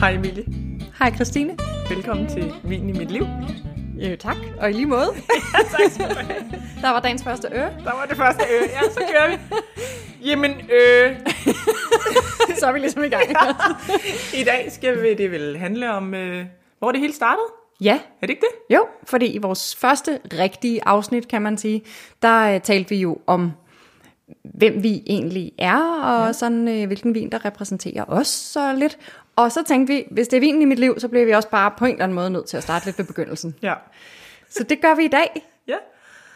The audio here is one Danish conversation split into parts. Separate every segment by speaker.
Speaker 1: Hej Emilie.
Speaker 2: Hej Christine.
Speaker 1: Velkommen til Vin i mit liv.
Speaker 2: Ja, Øh, tak. Og i lige måde. Der var dagens første øre.
Speaker 1: Der var det første øh. Ja, så kører vi. Jamen, øh,
Speaker 2: Så er vi ligesom i gang.
Speaker 1: i dag skal vi, det vil handle om, øh, hvor det hele startede.
Speaker 2: Ja,
Speaker 1: Er det ikke det?
Speaker 2: jo. Fordi i vores første rigtige afsnit, kan man sige, der øh, talte vi jo om, hvem vi egentlig er, og ja. sådan øh, hvilken vin, der repræsenterer os så lidt. Og så tænkte vi, hvis det er vinen i mit liv, så bliver vi også bare på en eller anden måde nødt til at starte lidt ved begyndelsen.
Speaker 1: Ja.
Speaker 2: Så det gør vi i dag,
Speaker 1: Ja.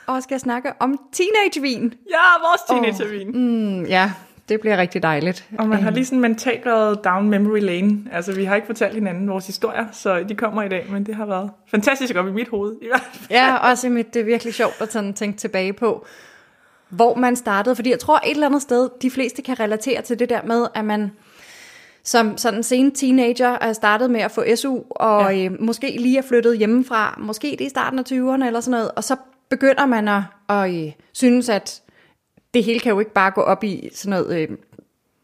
Speaker 2: og skal snakke om teenagevin.
Speaker 1: Ja, vores teenagervin. Oh.
Speaker 2: Mm, ja, det bliver rigtig dejligt.
Speaker 1: Og man har lige sådan mentalt været down memory lane. Altså, vi har ikke fortalt hinanden vores historier, så de kommer i dag, men det har været fantastisk op i mit hoved. I hvert fald.
Speaker 2: Ja, også mit, det er virkelig sjovt at sådan tænke tilbage på, hvor man startede. Fordi jeg tror et eller andet sted, de fleste kan relatere til det der med, at man som sådan sen teenager er startet med at få SU, og ja. øh, måske lige er flyttet hjemmefra, måske det er i starten af 20'erne eller sådan noget, og så begynder man at, at øh, synes, at det hele kan jo ikke bare gå op i sådan noget øh,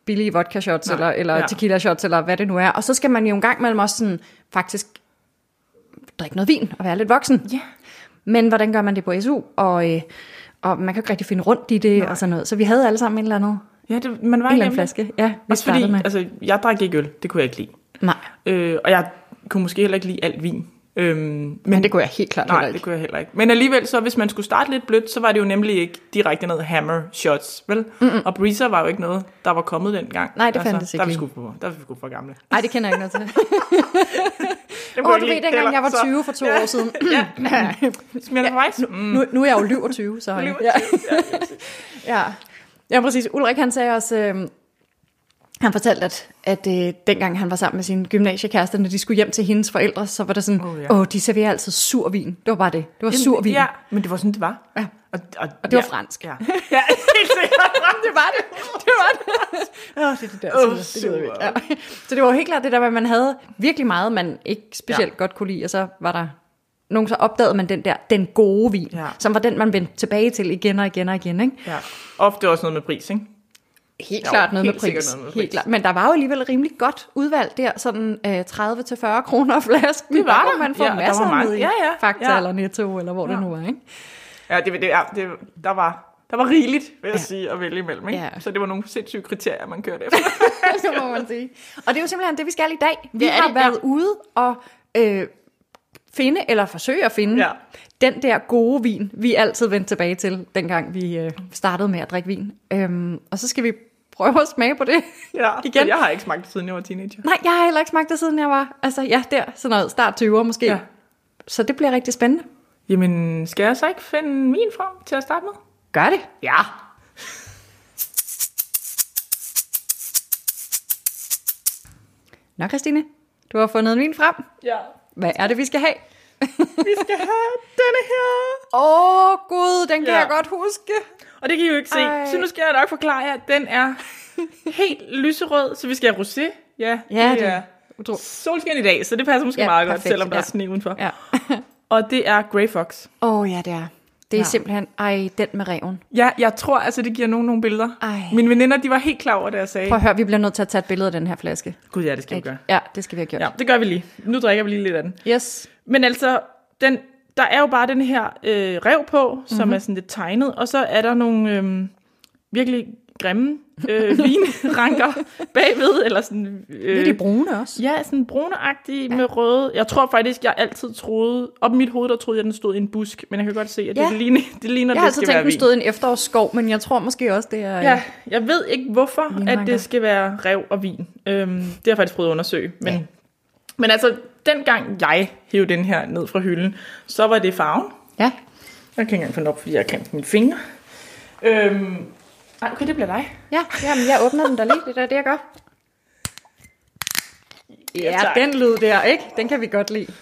Speaker 2: billige vodka shots,
Speaker 1: Nej,
Speaker 2: eller, eller
Speaker 1: ja.
Speaker 2: ja. tequila shots, eller hvad det nu er. Og så skal man jo en gang imellem også sådan, faktisk drikke noget vin og være lidt voksen.
Speaker 1: Ja.
Speaker 2: Men hvordan gør man det på SU? Og, øh, og man kan jo ikke rigtig finde rundt i det Nej. og sådan noget. Så vi havde alle sammen en eller anden, en
Speaker 1: Ja, det, man var
Speaker 2: eller anden
Speaker 1: igennem det.
Speaker 2: flaske. Ja, vi
Speaker 1: Også fordi,
Speaker 2: startede med.
Speaker 1: altså, jeg drak ikke øl. Det kunne jeg ikke lide.
Speaker 2: Nej,
Speaker 1: Øh, og jeg kunne måske heller ikke lide alt vin. Øhm, men,
Speaker 2: men det kunne jeg helt klart
Speaker 1: Nej,
Speaker 2: heller
Speaker 1: det
Speaker 2: ikke.
Speaker 1: kunne jeg heller ikke. Men alligevel, så hvis man skulle starte lidt blødt, så var det jo nemlig ikke direkte noget hammer shots, vel? Mm-mm. Og breezer var jo ikke noget, der var kommet dengang. Altså,
Speaker 2: Nej, det fandtes
Speaker 1: der
Speaker 2: ikke
Speaker 1: er vi
Speaker 2: lige.
Speaker 1: sgu for, der er vi sgu for gamle.
Speaker 2: Nej, det kender jeg ikke noget til.
Speaker 1: Dem
Speaker 2: Åh,
Speaker 1: kunne
Speaker 2: du
Speaker 1: ikke
Speaker 2: ved,
Speaker 1: lide heller,
Speaker 2: dengang jeg var
Speaker 1: så-
Speaker 2: 20 for to år siden.
Speaker 1: Smirnoff ja, Ice? Mm.
Speaker 2: Nu, nu er jeg jo lyver 20, så ja.
Speaker 1: Lyver
Speaker 2: ja. ja. ja, præcis. Ulrik, han sagde også, øh, han fortalte, at, at øh, dengang han var sammen med sin gymnasiekæreste, når de skulle hjem til hendes forældre, så var det sådan, åh,
Speaker 1: Åh,
Speaker 2: oh,
Speaker 1: ja.
Speaker 2: ja. oh, de serverer altid sur vin. Det var bare det. Det var sur vin.
Speaker 1: Ja, men det var sådan, det var.
Speaker 2: Ja.
Speaker 1: Og, og,
Speaker 2: Og det var
Speaker 1: ja.
Speaker 2: fransk.
Speaker 1: Ja, ja helt sikkert.
Speaker 2: det var det. Det var det. Åh, det er det der.
Speaker 1: Åh,
Speaker 2: Oh, det gider vi ikke. Ja. Så det var jo helt klart det der, med, at man havde virkelig meget, man ikke specielt ja. godt kunne lide, og så var der nogen, så opdagede man den der, den gode vin,
Speaker 1: Ja.
Speaker 2: ja. som var den, man vendte tilbage til igen og igen og igen, ikke?
Speaker 1: Ja. Ofte også noget med pris, ikke?
Speaker 2: Helt
Speaker 1: Jo,
Speaker 2: klart noget,
Speaker 1: helt
Speaker 2: med
Speaker 1: sikkert
Speaker 2: pris.
Speaker 1: noget med pris.
Speaker 2: Helt klart. Men der var jo alligevel rimelig godt udvalg der, sådan øh, 30-40 kroner flasken.
Speaker 1: Det var
Speaker 2: der. kunne
Speaker 1: der.
Speaker 2: man få
Speaker 1: Ja, der var
Speaker 2: masser
Speaker 1: mange.
Speaker 2: ned i
Speaker 1: Ja, ja,
Speaker 2: Fakta
Speaker 1: ja.
Speaker 2: eller Netto, eller hvor ja. det nu var, ikke?
Speaker 1: Ja, det, det, ja, det, der, var, der var rigeligt, vil jeg ja.
Speaker 2: Ja.
Speaker 1: sige, at vælge imellem. Ikke?
Speaker 2: Ja.
Speaker 1: Så det var nogle sindssyge kriterier, man kørte efter.
Speaker 2: det må man sige. Og det er jo simpelthen det, vi skal i dag. Vi
Speaker 1: Det er
Speaker 2: har
Speaker 1: det, ja.
Speaker 2: været ude og øh, finde, eller forsøge at finde,
Speaker 1: Ja.
Speaker 2: ja. den der gode vin, vi altid vendte tilbage til, dengang vi øh, startede med at drikke vin. Øhm, og så skal vi prøve at smage på det.
Speaker 1: ja,
Speaker 2: Igen.
Speaker 1: igen. Jeg har ikke smagt det, siden jeg var teenager.
Speaker 2: Nej, jeg har heller ikke smagt det, siden jeg var, altså ja, der, sådan noget, start 20'er måske.
Speaker 1: Ja.
Speaker 2: Ja. Så det bliver rigtig spændende.
Speaker 1: Jamen, skal jeg så ikke finde min frem til at starte med?
Speaker 2: Gør det.
Speaker 1: Ja.
Speaker 2: Nå, Christine, du har fundet en vin frem.
Speaker 1: Ja.
Speaker 2: Hvad er det, vi skal have?
Speaker 1: Vi skal have denne her.
Speaker 2: Åh, oh, gud, den kan
Speaker 1: Ja.
Speaker 2: ja. jeg godt huske.
Speaker 1: Og det kan I jo ikke se,
Speaker 2: Ej.
Speaker 1: så nu skal jeg nok forklare jer, at den er helt lyserød, så vi skal have rosé. Ja,
Speaker 2: Ja,
Speaker 1: det
Speaker 2: det-
Speaker 1: er
Speaker 2: Utro.
Speaker 1: solskin i dag, så det passer måske
Speaker 2: Ja,
Speaker 1: meget godt,
Speaker 2: perfekt,
Speaker 1: selvom der er
Speaker 2: ja.
Speaker 1: sne udenfor.
Speaker 2: Ja.
Speaker 1: Og det er Grey Fox.
Speaker 2: Åh oh, ja, det er. Det er
Speaker 1: Ja.
Speaker 2: ja. simpelthen, ej, den med reven.
Speaker 1: Ja, jeg tror altså, det giver nogen nogle billeder.
Speaker 2: Ej.
Speaker 1: Mine veninder, de var helt klar over, det jeg sagde.
Speaker 2: Prøv at høre, vi bliver nødt til at tage et billede af den her flaske.
Speaker 1: Gud ja, det skal vi gøre.
Speaker 2: Ja, det skal vi have gjort.
Speaker 1: Ja, det gør vi lige. Nu drikker vi lige lidt af den.
Speaker 2: Ja. Yes.
Speaker 1: Men altså, den, der er jo bare den her øh, rev på, som
Speaker 2: Mhm.
Speaker 1: mm-hmm. er sådan lidt tegnet, og så er der nogle øh, virkelig grimme øh, vinranker bagved, eller sådan...
Speaker 2: Det
Speaker 1: Øh,
Speaker 2: er de brune også.
Speaker 1: Ja, sådan bruneagtige ja. med røde. Jeg tror faktisk, jeg altid troede... Op i mit hoved, der troede jeg, den stod i en busk, men jeg kan godt se, at ja.
Speaker 2: Ja.
Speaker 1: det ligner, det, ligner,
Speaker 2: Jeg har
Speaker 1: det
Speaker 2: altid
Speaker 1: skal
Speaker 2: tænkt,
Speaker 1: være
Speaker 2: at den
Speaker 1: vin.
Speaker 2: stod i en efterårsskov, men jeg tror måske også, det er...
Speaker 1: Ja, jeg ved ikke, hvorfor at
Speaker 2: Vinranker.
Speaker 1: det skal være rev og vin. Øhm, det har jeg faktisk prøvet at undersøge. Men, ja. men altså, dengang jeg hævde den her ned fra hylden, så var det farven.
Speaker 2: ja.
Speaker 1: Jeg kan ikke engang finde op, fordi jeg har klemt mine fingre. Øhm, ej, okay, det bliver dig.
Speaker 2: ja. Jamen, jeg åbner den der lige. Det er det, jeg gør. Ja,
Speaker 1: tak.
Speaker 2: den lyd der, ikke? Den kan vi godt lide.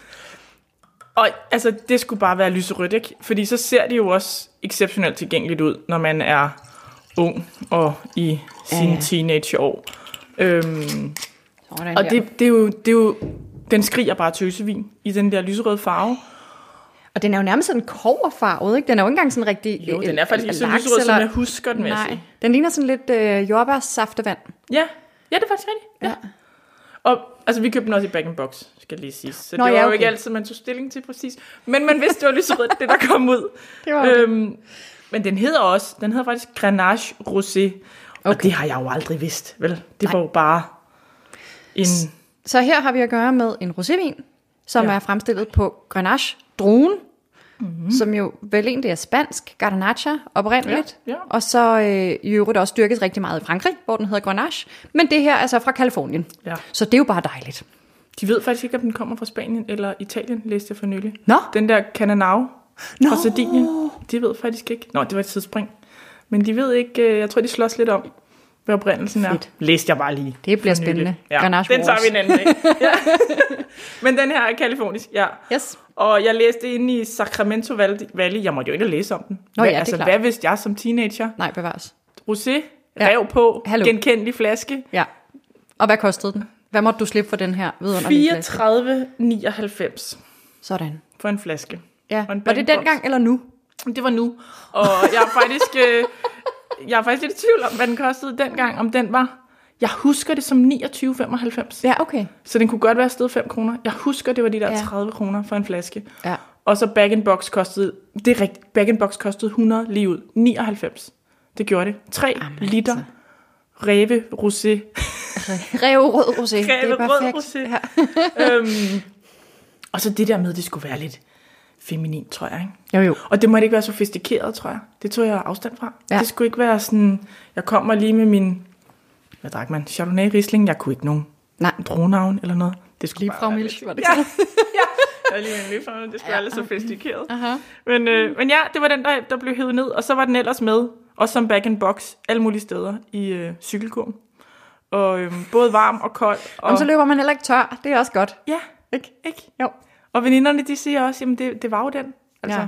Speaker 1: Og altså, det skulle bare være lyserødt, ikke? Fordi så ser det jo også exceptionelt tilgængeligt ud, når man er ung og i sine
Speaker 2: ja.
Speaker 1: teenageår. Øhm,
Speaker 2: Sådan
Speaker 1: og
Speaker 2: der.
Speaker 1: det, det, er jo, det er jo... Den skriger bare tøsevin i den der lyserøde farve.
Speaker 2: og den er jo nærmest sådan koverfarvet, ikke? Den er jo ikke engang sådan rigtig...
Speaker 1: Jo,
Speaker 2: øh,
Speaker 1: den er faktisk altså ikke så
Speaker 2: laks
Speaker 1: lyserød, som
Speaker 2: eller-
Speaker 1: jeg husker den, vil jeg
Speaker 2: Nej,
Speaker 1: sige.
Speaker 2: den ligner sådan lidt øh, jordbærsaftevand.
Speaker 1: Ja. ja, det er faktisk rigtigt. Ja.
Speaker 2: Ja.
Speaker 1: Og, og Altså, vi købte den også i bag box, skal lige sige. Så
Speaker 2: Nå,
Speaker 1: Nå, det var
Speaker 2: ja,
Speaker 1: ja, okay. jo
Speaker 2: okay.
Speaker 1: ikke altid, man tog stilling til præcis. Men man vidste, det var lyserødt, det der kom ud.
Speaker 2: Det var det.
Speaker 1: øhm, men den hedder også, den hedder faktisk Grenache Rosé. Okay. Og det har jeg jo aldrig vidst, vel? Det var jo bare en...
Speaker 2: Så her har vi at gøre med en rosévin, som ja.
Speaker 1: Ja. Mhm.
Speaker 2: er fremstillet på Grenache druen, mm-hmm. som jo vel egentlig er spansk, Garnacha oprindeligt,
Speaker 1: Ja, ja.
Speaker 2: og så øh, i øvrigt også dyrkes rigtig meget i Frankrig, hvor den hedder Grenache, men det her er så fra Kalifornien.
Speaker 1: Ja.
Speaker 2: Så det er jo bare dejligt.
Speaker 1: De ved faktisk ikke, om den kommer fra Spanien eller Italien, læste jeg for nylig.
Speaker 2: Nå.
Speaker 1: Den der Cananao
Speaker 2: Nå.
Speaker 1: fra Sardinien, de ved faktisk ikke. Nå, det var et tidsspring. Men de ved ikke, øh, jeg tror, de slås lidt om, hvad oprindelsen er.
Speaker 2: Fedt.
Speaker 1: Læste jeg bare lige.
Speaker 2: Det bliver
Speaker 1: for nylig.
Speaker 2: spændende.
Speaker 1: Ja,
Speaker 2: Grenache
Speaker 1: den tager
Speaker 2: Wars.
Speaker 1: vi en anden dag. Ja. Men den her er kalifornisk, ja.
Speaker 2: Yes.
Speaker 1: Og jeg læste inde i Sacramento Valley. Valley. Jeg måtte jo ikke læse om den.
Speaker 2: Nå ja, det er
Speaker 1: altså,
Speaker 2: klart.
Speaker 1: hvad vidste jeg som teenager?
Speaker 2: Nej, bevares.
Speaker 1: Rosé,
Speaker 2: Ja.
Speaker 1: ja. rev på,
Speaker 2: Hallo.
Speaker 1: Hallo. genkendelig flaske.
Speaker 2: Ja. Og hvad kostede den? Hvad måtte du slippe for den her vidunderlige flaske?
Speaker 1: 34,99
Speaker 2: Sådan.
Speaker 1: for en flaske.
Speaker 2: Ja.
Speaker 1: Og en
Speaker 2: Var det
Speaker 1: bag-in-box.
Speaker 2: dengang eller nu?
Speaker 1: Det var nu. Og jeg er faktisk, øh, jeg er faktisk lidt i tvivl om, hvad den kostede dengang, om den var... Jeg husker det som 29,95.
Speaker 2: Ja, okay.
Speaker 1: Så den kunne godt være sted 5 kroner. Jeg husker, det var de der
Speaker 2: Ja.
Speaker 1: 30 kroner for en flaske.
Speaker 2: Ja.
Speaker 1: Og så bag in box kostede, det er rigtigt, bag in box kostede 100 lige ud. 99. Det gjorde det. 3
Speaker 2: Jamen,
Speaker 1: liter
Speaker 2: altså.
Speaker 1: ræve rosé.
Speaker 2: Rev rød rosé. det
Speaker 1: Ræve
Speaker 2: er
Speaker 1: rød
Speaker 2: perfekt.
Speaker 1: rosé. øhm, og så det der med, at det skulle være lidt feminin, tror jeg. Ikke?
Speaker 2: Jo, jo.
Speaker 1: Og det måtte ikke være sofistikeret, tror jeg. Det tog jeg afstand fra.
Speaker 2: Ja.
Speaker 1: Ja. Det skulle ikke være sådan, jeg kommer lige med min, hvad drak man, Chardonnay Riesling. Jeg kunne ikke nogen
Speaker 2: Nej.
Speaker 1: drogenavn eller noget. Det skulle
Speaker 2: Lige
Speaker 1: bare
Speaker 2: fra
Speaker 1: være
Speaker 2: Milch,
Speaker 1: lidt-
Speaker 2: var det
Speaker 1: Ja, ja. Jeg er lige med en lige fra, det skulle være lidt sofistikeret.
Speaker 2: Aha.
Speaker 1: Men, øh, men ja, det var den, der, der blev hævet ned, og så var den ellers med, også som back in box, alle mulige steder i øh, cykelkurven. Og øh, både varm og kold. Og,
Speaker 2: Jamen, så løber man heller ikke tør. Det er også godt.
Speaker 1: ja, ikke? ikke?
Speaker 2: Jo.
Speaker 1: Og veninderne, de siger også, jamen det, det var jo den. Altså,
Speaker 2: Ja.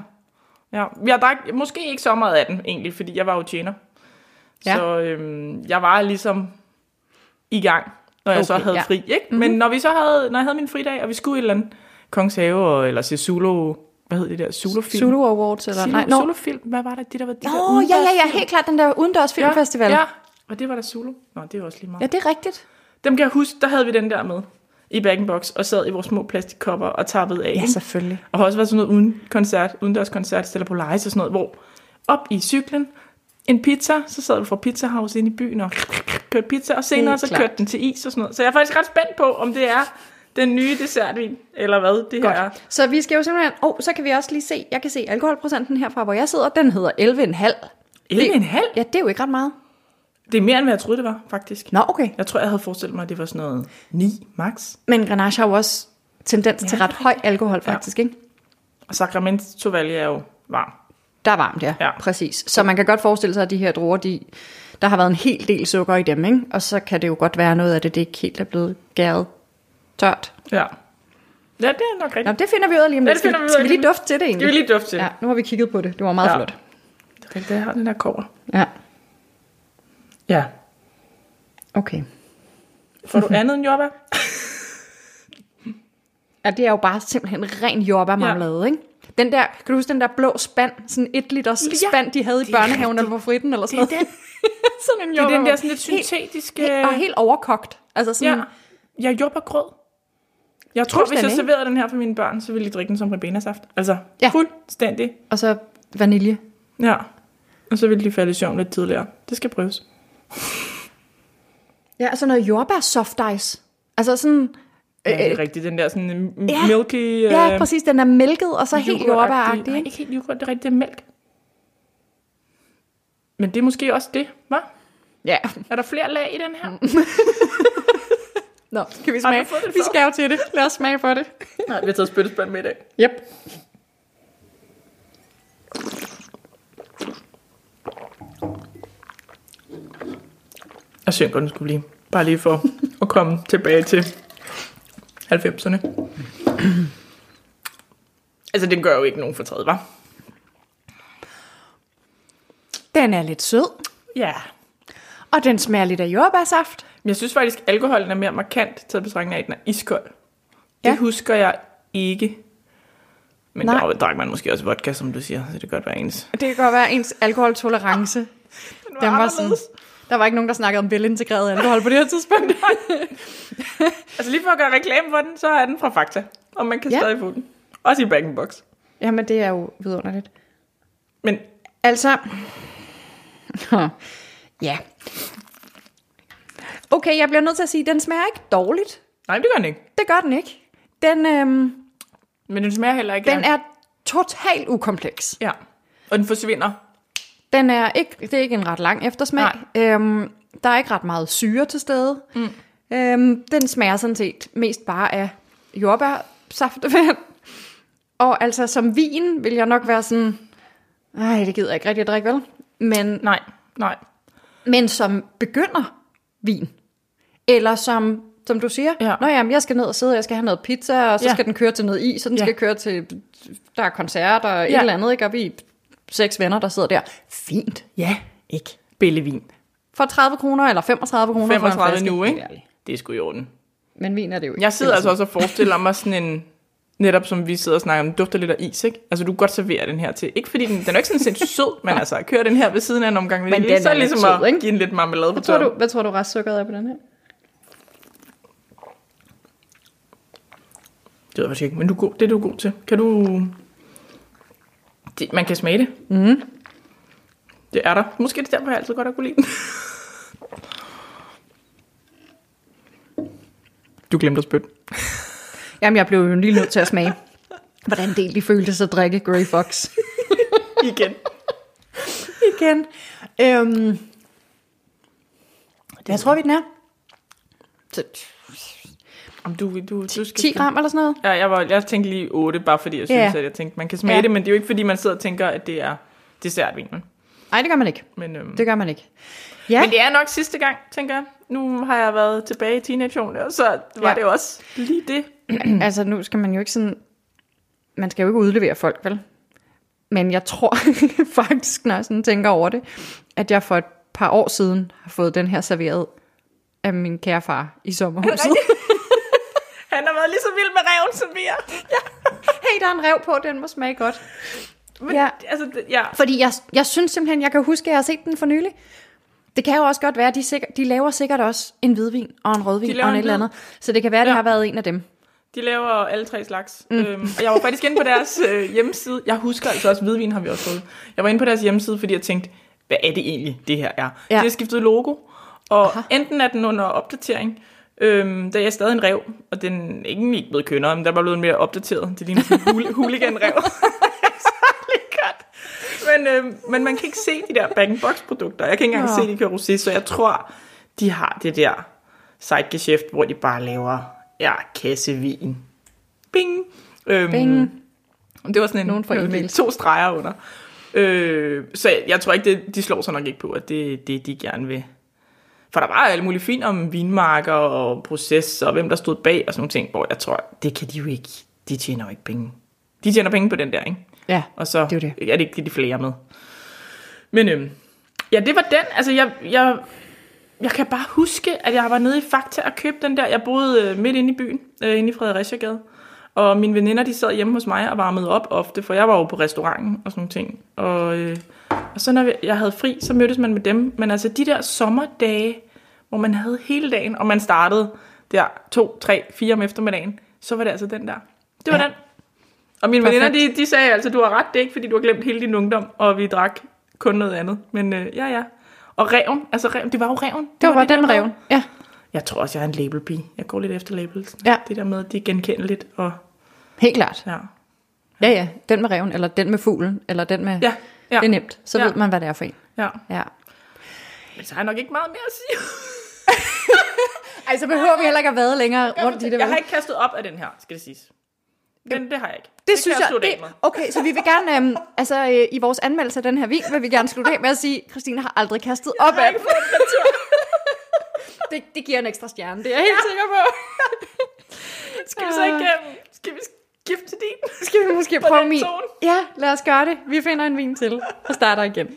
Speaker 1: ja. ja. Jeg drak måske ikke så meget af den, egentlig, fordi jeg var jo tjener.
Speaker 2: Ja.
Speaker 1: Ja. Så øhm, jeg var ligesom i gang, når jeg okay, så
Speaker 2: Okay,
Speaker 1: havde
Speaker 2: ja. Mhm.
Speaker 1: ja. fri. Ikke? Mm-hmm. Men når, vi så havde, når jeg havde min fridag, og vi skulle et eller andet Kongens Have, og- eller se Zulu, hvad hed det der, Zulu-film?
Speaker 2: Zulu Awards eller
Speaker 1: Zulu,
Speaker 2: nej,
Speaker 1: no.
Speaker 2: no.
Speaker 1: Zulu-film, hvad var det, det der var de der
Speaker 2: Åh, oh, ja, ja, ja,
Speaker 1: udendørsfilm?
Speaker 2: helt klart den der udendørs filmfestival.
Speaker 1: Ja, ja, og det var der Zulu. Nå, det er også lige meget.
Speaker 2: ja, det er rigtigt.
Speaker 1: Dem kan jeg huske, der havde vi den der med i bag in box, og sad i vores små plastikkopper og tappede af. ikke?
Speaker 2: selvfølgelig.
Speaker 1: Og har også været sådan noget uden koncert, udendørs koncert, Stella Polaris og sådan noget, hvor op i cyklen, en pizza, så sad vi fra Pizza House ind i byen og kørte pizza, og senere
Speaker 2: Helt
Speaker 1: så
Speaker 2: klart.
Speaker 1: kørte den til is og sådan noget. Så jeg er faktisk ret spændt på, om det er den nye dessertvin, eller hvad det her er.
Speaker 2: Godt. Så vi skal jo simpelthen... Åh, oh, så kan vi også lige se... Jeg kan se alkoholprocenten herfra, hvor jeg sidder. Den hedder 11,5.
Speaker 1: 11,5?
Speaker 2: Ja, det er jo ikke ret meget.
Speaker 1: Det er mere, end hvad jeg troede, det var, faktisk.
Speaker 2: Nå, okay.
Speaker 1: Jeg tror, jeg havde forestillet mig, at det var sådan noget 9 max.
Speaker 2: Men Grenache har jo også tendens ja, til ret høj alkohol, faktisk, ja. ikke?
Speaker 1: Og Sacramento Valley er jo varm.
Speaker 2: Der er varmt, ja. ja.
Speaker 1: Ja.
Speaker 2: Præcis. Så man kan godt forestille sig, at de her druer, de, der har været en hel del sukker i dem, ikke? Og så kan det jo godt være noget af det, det ikke helt er blevet gæret tørt.
Speaker 1: Ja. Ja, det er nok
Speaker 2: Nå,
Speaker 1: rigtigt.
Speaker 2: det finder vi ud af lige om
Speaker 1: Ja,
Speaker 2: lidt.
Speaker 1: det
Speaker 2: Skal,
Speaker 1: finder vi ud af
Speaker 2: skal vi
Speaker 1: lige
Speaker 2: lige dufte til det egentlig?
Speaker 1: Skal vi lige dufte til?
Speaker 2: Ja,
Speaker 1: Ja.
Speaker 2: nu har vi kigget på det. Det var meget ja.
Speaker 1: Ja.
Speaker 2: flot.
Speaker 1: Det er rigtigt, jeg har den der kover.
Speaker 2: Ja,
Speaker 1: Ja.
Speaker 2: okay.
Speaker 1: Får du andet end jordbær?
Speaker 2: Ja, det er jo bare simpelthen ren jordbærmarmelade, ja. ikke? Den der, kan du huske den der blå spand, sådan et liters
Speaker 1: Ja,
Speaker 2: ja, spand, de havde i
Speaker 1: det er
Speaker 2: børnehaven eller på fritten eller sådan noget?
Speaker 1: Det er
Speaker 2: sådan en
Speaker 1: Det er den der sådan lidt
Speaker 2: jordbærmarmelade.
Speaker 1: syntetiske...
Speaker 2: Helt, helt, og helt overkogt. Altså sådan,
Speaker 1: Ja.
Speaker 2: ja.
Speaker 1: Ja, jordbærgrød. Jeg tror, hvis jeg
Speaker 2: Fuldstændig.
Speaker 1: serverede den her for mine børn, så ville de drikke den som ribenasaft. Altså,
Speaker 2: Ja.
Speaker 1: ja. fuldstændig.
Speaker 2: og så vanilje.
Speaker 1: Ja. Og så ville de falde i søvn lidt tidligere. Det skal prøves.
Speaker 2: Øh, Ja, og så noget jordbær soft ice. Altså sådan,
Speaker 1: Ja, det er rigtigt, den der sådan m-
Speaker 2: øh, ja.
Speaker 1: milky... Øh,
Speaker 2: ja, præcis, den er mælket, og så helt
Speaker 1: yoghurtagtig-
Speaker 2: jordbæragtig.
Speaker 1: Nej,
Speaker 2: ikke?
Speaker 1: ikke helt yoghurt, det er rigtigt, det er mælk. Men det er måske også det, hva?
Speaker 2: Ja.
Speaker 1: Er der flere lag i den her?
Speaker 2: Nå, skal vi
Speaker 1: Har du
Speaker 2: smage?
Speaker 1: fået det
Speaker 2: Vi
Speaker 1: før?
Speaker 2: skal jo til det. Lad os smage for det.
Speaker 1: Nej, vi har taget spyttespand med i dag.
Speaker 2: Yep.
Speaker 1: Jeg synes godt, den skulle blive. Bare lige for at komme tilbage til 90'erne. altså, den gør jo ikke nogen fortræd, var?
Speaker 2: Den er lidt sød,
Speaker 1: Ja.
Speaker 2: og den smager lidt af jordbærsaft.
Speaker 1: Men jeg synes faktisk, at alkoholen er mere markant taget på strengene af, at den er iskold. Det
Speaker 2: Ja.
Speaker 1: ja. husker jeg ikke. Men
Speaker 2: Nej.
Speaker 1: Nej. der drak man måske også vodka, som du siger, så det kan godt være ens.
Speaker 2: Det kan godt være ens alkoholtolerance.
Speaker 1: Den
Speaker 2: Den var sådan, Der var ikke nogen, der snakkede om velintegreret alkohol på det her tidspunkt.
Speaker 1: Altså lige for at gøre reklame for den, så er den fra Fakta. Og man kan
Speaker 2: Ja.
Speaker 1: ja. stadig få den. Også i bag in box.
Speaker 2: Jamen, det er jo vidunderligt.
Speaker 1: Men
Speaker 2: Altså... ja. Okay, jeg bliver nødt til at sige, at den smager ikke dårligt.
Speaker 1: nej, det gør den ikke.
Speaker 2: Det gør den ikke. Den, øhm,
Speaker 1: Men den smager heller ikke.
Speaker 2: den
Speaker 1: af-
Speaker 2: er totalt ukompleks.
Speaker 1: Ja. Og den forsvinder.
Speaker 2: Den er ikke, det er ikke en ret lang eftersmag. Øhm, der er ikke ret meget syre til stede. Mm. Øhm, den smager sådan set mest bare af jordbærsaftevand. Og altså som vin vil jeg nok være sådan, nej, det gider jeg ikke rigtig at drikke, vel? Men,
Speaker 1: Nej, nej.
Speaker 2: men som begynder vin, eller som, som du siger,
Speaker 1: Ja.
Speaker 2: Nå, jamen, jeg skal ned og sidde, og jeg skal have noget pizza, og så
Speaker 1: Ja.
Speaker 2: skal den køre til noget is, så den
Speaker 1: Ja.
Speaker 2: skal køre til, der er koncert og et
Speaker 1: Ja.
Speaker 2: eller andet, ikke? Og vi er seks venner, der sidder der. Fint,
Speaker 1: Ja, ikke. Billevin.
Speaker 2: for 30 kroner, eller 35 kroner for en
Speaker 1: 35
Speaker 2: flaske.
Speaker 1: nu,
Speaker 2: Helt
Speaker 1: ikke?
Speaker 2: ærligt.
Speaker 1: Det er sgu i orden.
Speaker 2: Men vin er det jo ikke.
Speaker 1: Jeg sidder altså også og forestiller mig sådan en, netop som vi sidder og snakker om, dufter lidt af is, ikke? Altså, du kan godt servere den her til. Ikke fordi den, den er jo ikke sådan sindssygt sød, men altså, at køre den her ved siden af en omgang.
Speaker 2: Men
Speaker 1: Men
Speaker 2: den
Speaker 1: så
Speaker 2: er
Speaker 1: er
Speaker 2: lidt
Speaker 1: ligesom
Speaker 2: sød,
Speaker 1: at
Speaker 2: ikke?
Speaker 1: give en lidt marmelade på
Speaker 2: Hvad tror,
Speaker 1: toppen.
Speaker 2: du, hvad tror du restsukkeret er på den her?
Speaker 1: Det ved jeg faktisk ikke, men du er god, det er du god til. Kan du... Det, man kan smage det. Mm.
Speaker 2: Mm-hmm.
Speaker 1: Det er der. Måske er det derfor, jeg altid godt har kunne lide den. Du glemte at spytte.
Speaker 2: Jamen, jeg blev jo lige nødt til at smage. Hvordan del de følte sig at drikke Grey Fox.
Speaker 1: Igen.
Speaker 2: Igen. Øhm, jeg tror, vi den er.
Speaker 1: Om du, du, du skal
Speaker 2: 10 gram eller sådan noget.
Speaker 1: Ja, jeg, var, jeg tænkte lige 8, bare fordi jeg synes,
Speaker 2: Ja.
Speaker 1: at jeg tænkte, man kan smage
Speaker 2: Ja.
Speaker 1: det, men det er jo ikke, fordi man sidder og tænker, at det er dessertvinen.
Speaker 2: Nej, det gør man ikke.
Speaker 1: Men, øhm, det,
Speaker 2: Det gør man ikke. Ja,
Speaker 1: men det er nok sidste gang, tænker jeg. Nu har jeg været tilbage i teenageårene, og så var
Speaker 2: Ja.
Speaker 1: ja. det jo også lige det.
Speaker 2: altså nu skal man jo ikke sådan... Man skal jo ikke udlevere folk, vel? Men jeg tror faktisk, når jeg sådan tænker over det, at jeg for et par år siden har fået den her serveret af min kære far i sommerhuset.
Speaker 1: Han har været lige så vild med reven, som vi er.
Speaker 2: hey, der er en rev på, den må smage godt.
Speaker 1: Men,
Speaker 2: Ja.
Speaker 1: ja. Altså, det- ja.
Speaker 2: Fordi jeg, jeg synes simpelthen, jeg kan huske, at jeg har set den for nylig. Det kan jo også godt være, at de, sikker, de laver sikkert også en hvidvin og en rødvin
Speaker 1: De
Speaker 2: og
Speaker 1: laver
Speaker 2: en Mm.
Speaker 1: en
Speaker 2: et eller
Speaker 1: hvid.
Speaker 2: andet. Så det kan være, at det
Speaker 1: Ja.
Speaker 2: har været en af dem.
Speaker 1: De laver alle tre slags. Mm. Øhm, og jeg var faktisk inde på deres øh, hjemmeside. Jeg husker altså også, hvidvin har vi også fået. Jeg var inde på deres hjemmeside, fordi jeg tænkte, hvad er det egentlig, det her er?
Speaker 2: Ja.
Speaker 1: Ja. De har skiftet logo, og Aha. enten er den under opdatering, øhm, der er stadig en rev, og den er egentlig ikke blevet kønnere, men der er bare blevet mere opdateret. Det ligner sådan en hul- hooligan-rev. Særlig godt. men, øhm, men man kan ikke se de der bag-in-box-produkter. Jeg kan ikke engang
Speaker 2: Nå.
Speaker 1: se, de kan rosé, så jeg tror, de har det der sidegeschæft, hvor de bare laver ja, kassevin. Bing. Øhm,
Speaker 2: Bing.
Speaker 1: Det var sådan en,
Speaker 2: Nogen får
Speaker 1: øh,
Speaker 2: e-mail.
Speaker 1: to streger under. Øh, så jeg, jeg tror ikke, det, de slår sig nok ikke på, at det er det, de gerne vil. For der var alt muligt fint om vinmarker og proces, og hvem der stod bag og sådan nogle ting, hvor jeg tror, det kan de jo ikke. De tjener jo ikke penge. De tjener penge på den der, ikke?
Speaker 2: Ja,
Speaker 1: Og så
Speaker 2: Det er jo
Speaker 1: er det ikke det, de flere med. Men øhm, ja, det var den. Altså, jeg, jeg, jeg kan bare huske, at jeg var nede i Fakta og købte den der. Jeg boede øh, midt inde i byen, øh, inde i Fredericiagade. Og mine veninder, de sad hjemme hos mig og varmede op ofte, for jeg var jo på restauranten og sådan nogle ting. Og, øh, og så når vi- jeg havde fri, så mødtes man med dem. Men altså de der sommerdage, hvor man havde hele dagen, og man startede der to, tre, fire om eftermiddagen, så var det altså den der. Det var
Speaker 2: Ja.
Speaker 1: ja. den. Og mine
Speaker 2: Perfekt.
Speaker 1: veninder, de, de sagde altså, du har ret, det er ikke, fordi du har glemt hele din ungdom, og vi drak kun noget andet. Men øh, ja, ja. Og reven, altså reven, det var jo reven.
Speaker 2: det var bare
Speaker 1: der
Speaker 2: den
Speaker 1: med-
Speaker 2: reven. Ja.
Speaker 1: Jeg tror også, jeg er en labelpige. Jeg går lidt efter labels.
Speaker 2: Ja.
Speaker 1: Det der med, at det er genkendeligt. Og,
Speaker 2: Helt klart.
Speaker 1: ja.
Speaker 2: Ja, ja. Den med reven, eller den med fuglen, eller den med...
Speaker 1: Ja, ja.
Speaker 2: Det er nemt. Så
Speaker 1: Ja.
Speaker 2: ved man, hvad det er for en.
Speaker 1: ja.
Speaker 2: Ja.
Speaker 1: Men så har jeg nok ikke meget mere at sige.
Speaker 2: Ej, så behøver vi heller ikke at vade længere rundt i det.
Speaker 1: Jeg
Speaker 2: vel?
Speaker 1: har ikke kastet op af den her, skal det siges. Men det har jeg ikke.
Speaker 2: det synes
Speaker 1: kan
Speaker 2: jeg,
Speaker 1: slutte af med.
Speaker 2: det, okay, så vi vil gerne, øhm, altså øh, i vores anmeldelse af den her vin, vil vi gerne slutte af med at sige, at Christine har aldrig kastet op af den. det, det giver en ekstra stjerne, det er jeg helt sikker på.
Speaker 1: Skal vi så ikke... øh, Skal vi skifte til din?
Speaker 2: Skal vi måske
Speaker 1: På
Speaker 2: prøve
Speaker 1: den
Speaker 2: min?
Speaker 1: tone.
Speaker 2: Ja, lad os gøre det. Vi finder en vin til og starter igen.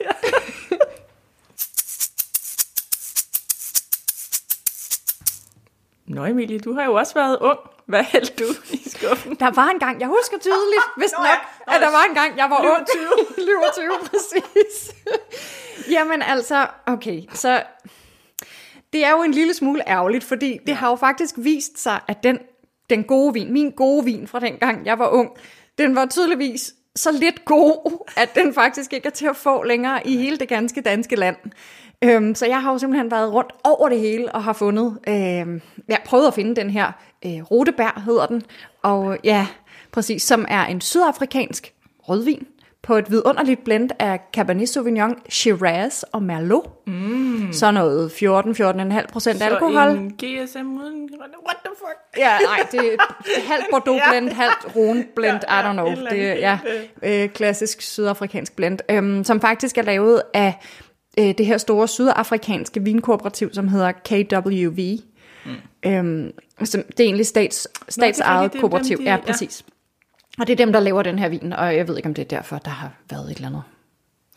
Speaker 1: Nå Emilie, du har jo også været ung. Hvad hældte du i skuffen?
Speaker 2: Der var en gang, jeg husker tydeligt, hvis
Speaker 1: Nå
Speaker 2: nok,
Speaker 1: ja, nå
Speaker 2: at der
Speaker 1: ja.
Speaker 2: var en gang, jeg var ung.
Speaker 1: 20.
Speaker 2: Lyver 20, præcis. Jamen altså, okay, så det er jo en lille smule ærgerligt, fordi det har jo faktisk vist sig, at den, den gode vin, min gode vin fra dengang jeg var ung, den var tydeligvis så lidt god, at den faktisk ikke er til at få længere i hele det ganske danske land. Øhm, så jeg har jo simpelthen været rundt over det hele og har fundet, øhm, jeg prøvet at finde den her øh, rotebær hedder den, og øh, ja, præcis, som er en sydafrikansk rødvin på et vidunderligt blend af Cabernet Sauvignon, Shiraz og Merlot. Mm. Så noget 14-14,5 procent alkohol.
Speaker 1: Så en GSM uden... What the fuck?
Speaker 2: Ja, nej, det er halvt Bordeaux-blend, halvt Rhone-blend, I don't know.
Speaker 1: et eller andet
Speaker 2: Det er ja, øh, klassisk sydafrikansk blend, øhm, som faktisk er lavet af øh, det her store sydafrikanske vinkooperativ, som hedder KWV. Mm. Øhm, som, det er egentlig stats, statsejet
Speaker 1: det er dem,
Speaker 2: kooperativ.
Speaker 1: de-
Speaker 2: ja,
Speaker 1: ja.
Speaker 2: præcis. Og det er dem, der laver den her vin, og jeg ved ikke, om det er derfor, der har været et eller andet.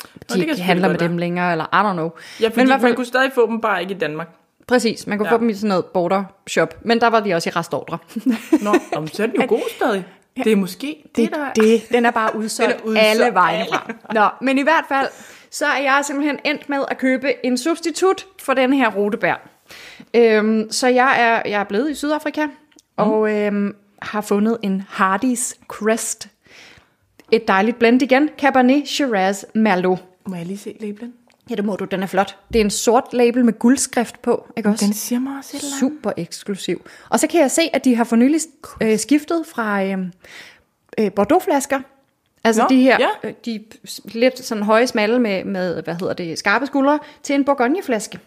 Speaker 1: kan
Speaker 2: De ikke
Speaker 1: selvfølgelig
Speaker 2: handler med
Speaker 1: godt være.
Speaker 2: dem længere, eller I don't know.
Speaker 1: Ja, fordi
Speaker 2: Men i
Speaker 1: man
Speaker 2: hvert fald,
Speaker 1: kunne stadig få dem bare ikke i Danmark.
Speaker 2: præcis, man kunne
Speaker 1: Ja.
Speaker 2: få dem i sådan noget border shop, men der var de også i restordre.
Speaker 1: Nå, om, så er den jo god stadig. Det er måske det,
Speaker 2: det,
Speaker 1: der...
Speaker 2: det, det. Den er bare udsolgt,
Speaker 1: Den er udsolgt.
Speaker 2: alle vegne fra. Nå, men i hvert fald, så er jeg simpelthen endt med at købe en substitut for den her rotebær. Øhm, så jeg er, jeg er blevet i Sydafrika, og øhm, har fundet en Hardys Crest. Et dejligt blend igen. Cabernet Shiraz Merlot.
Speaker 1: Må jeg lige se labelen?
Speaker 2: Ja, det må du. Den er flot. Det er en sort label med guldskrift på, ikke også?
Speaker 1: Den siger mig også et eller andet.
Speaker 2: Super eksklusiv. Og så kan jeg se, at de har for nylig øh, skiftet fra øh, øh, Bordeaux-flasker. Altså
Speaker 1: Nå,
Speaker 2: de her,
Speaker 1: ja.
Speaker 2: øh, de s- lidt sådan høje, smalle med, med, hvad hedder det, skarpe skuldre, til en Bourgogne-flaske.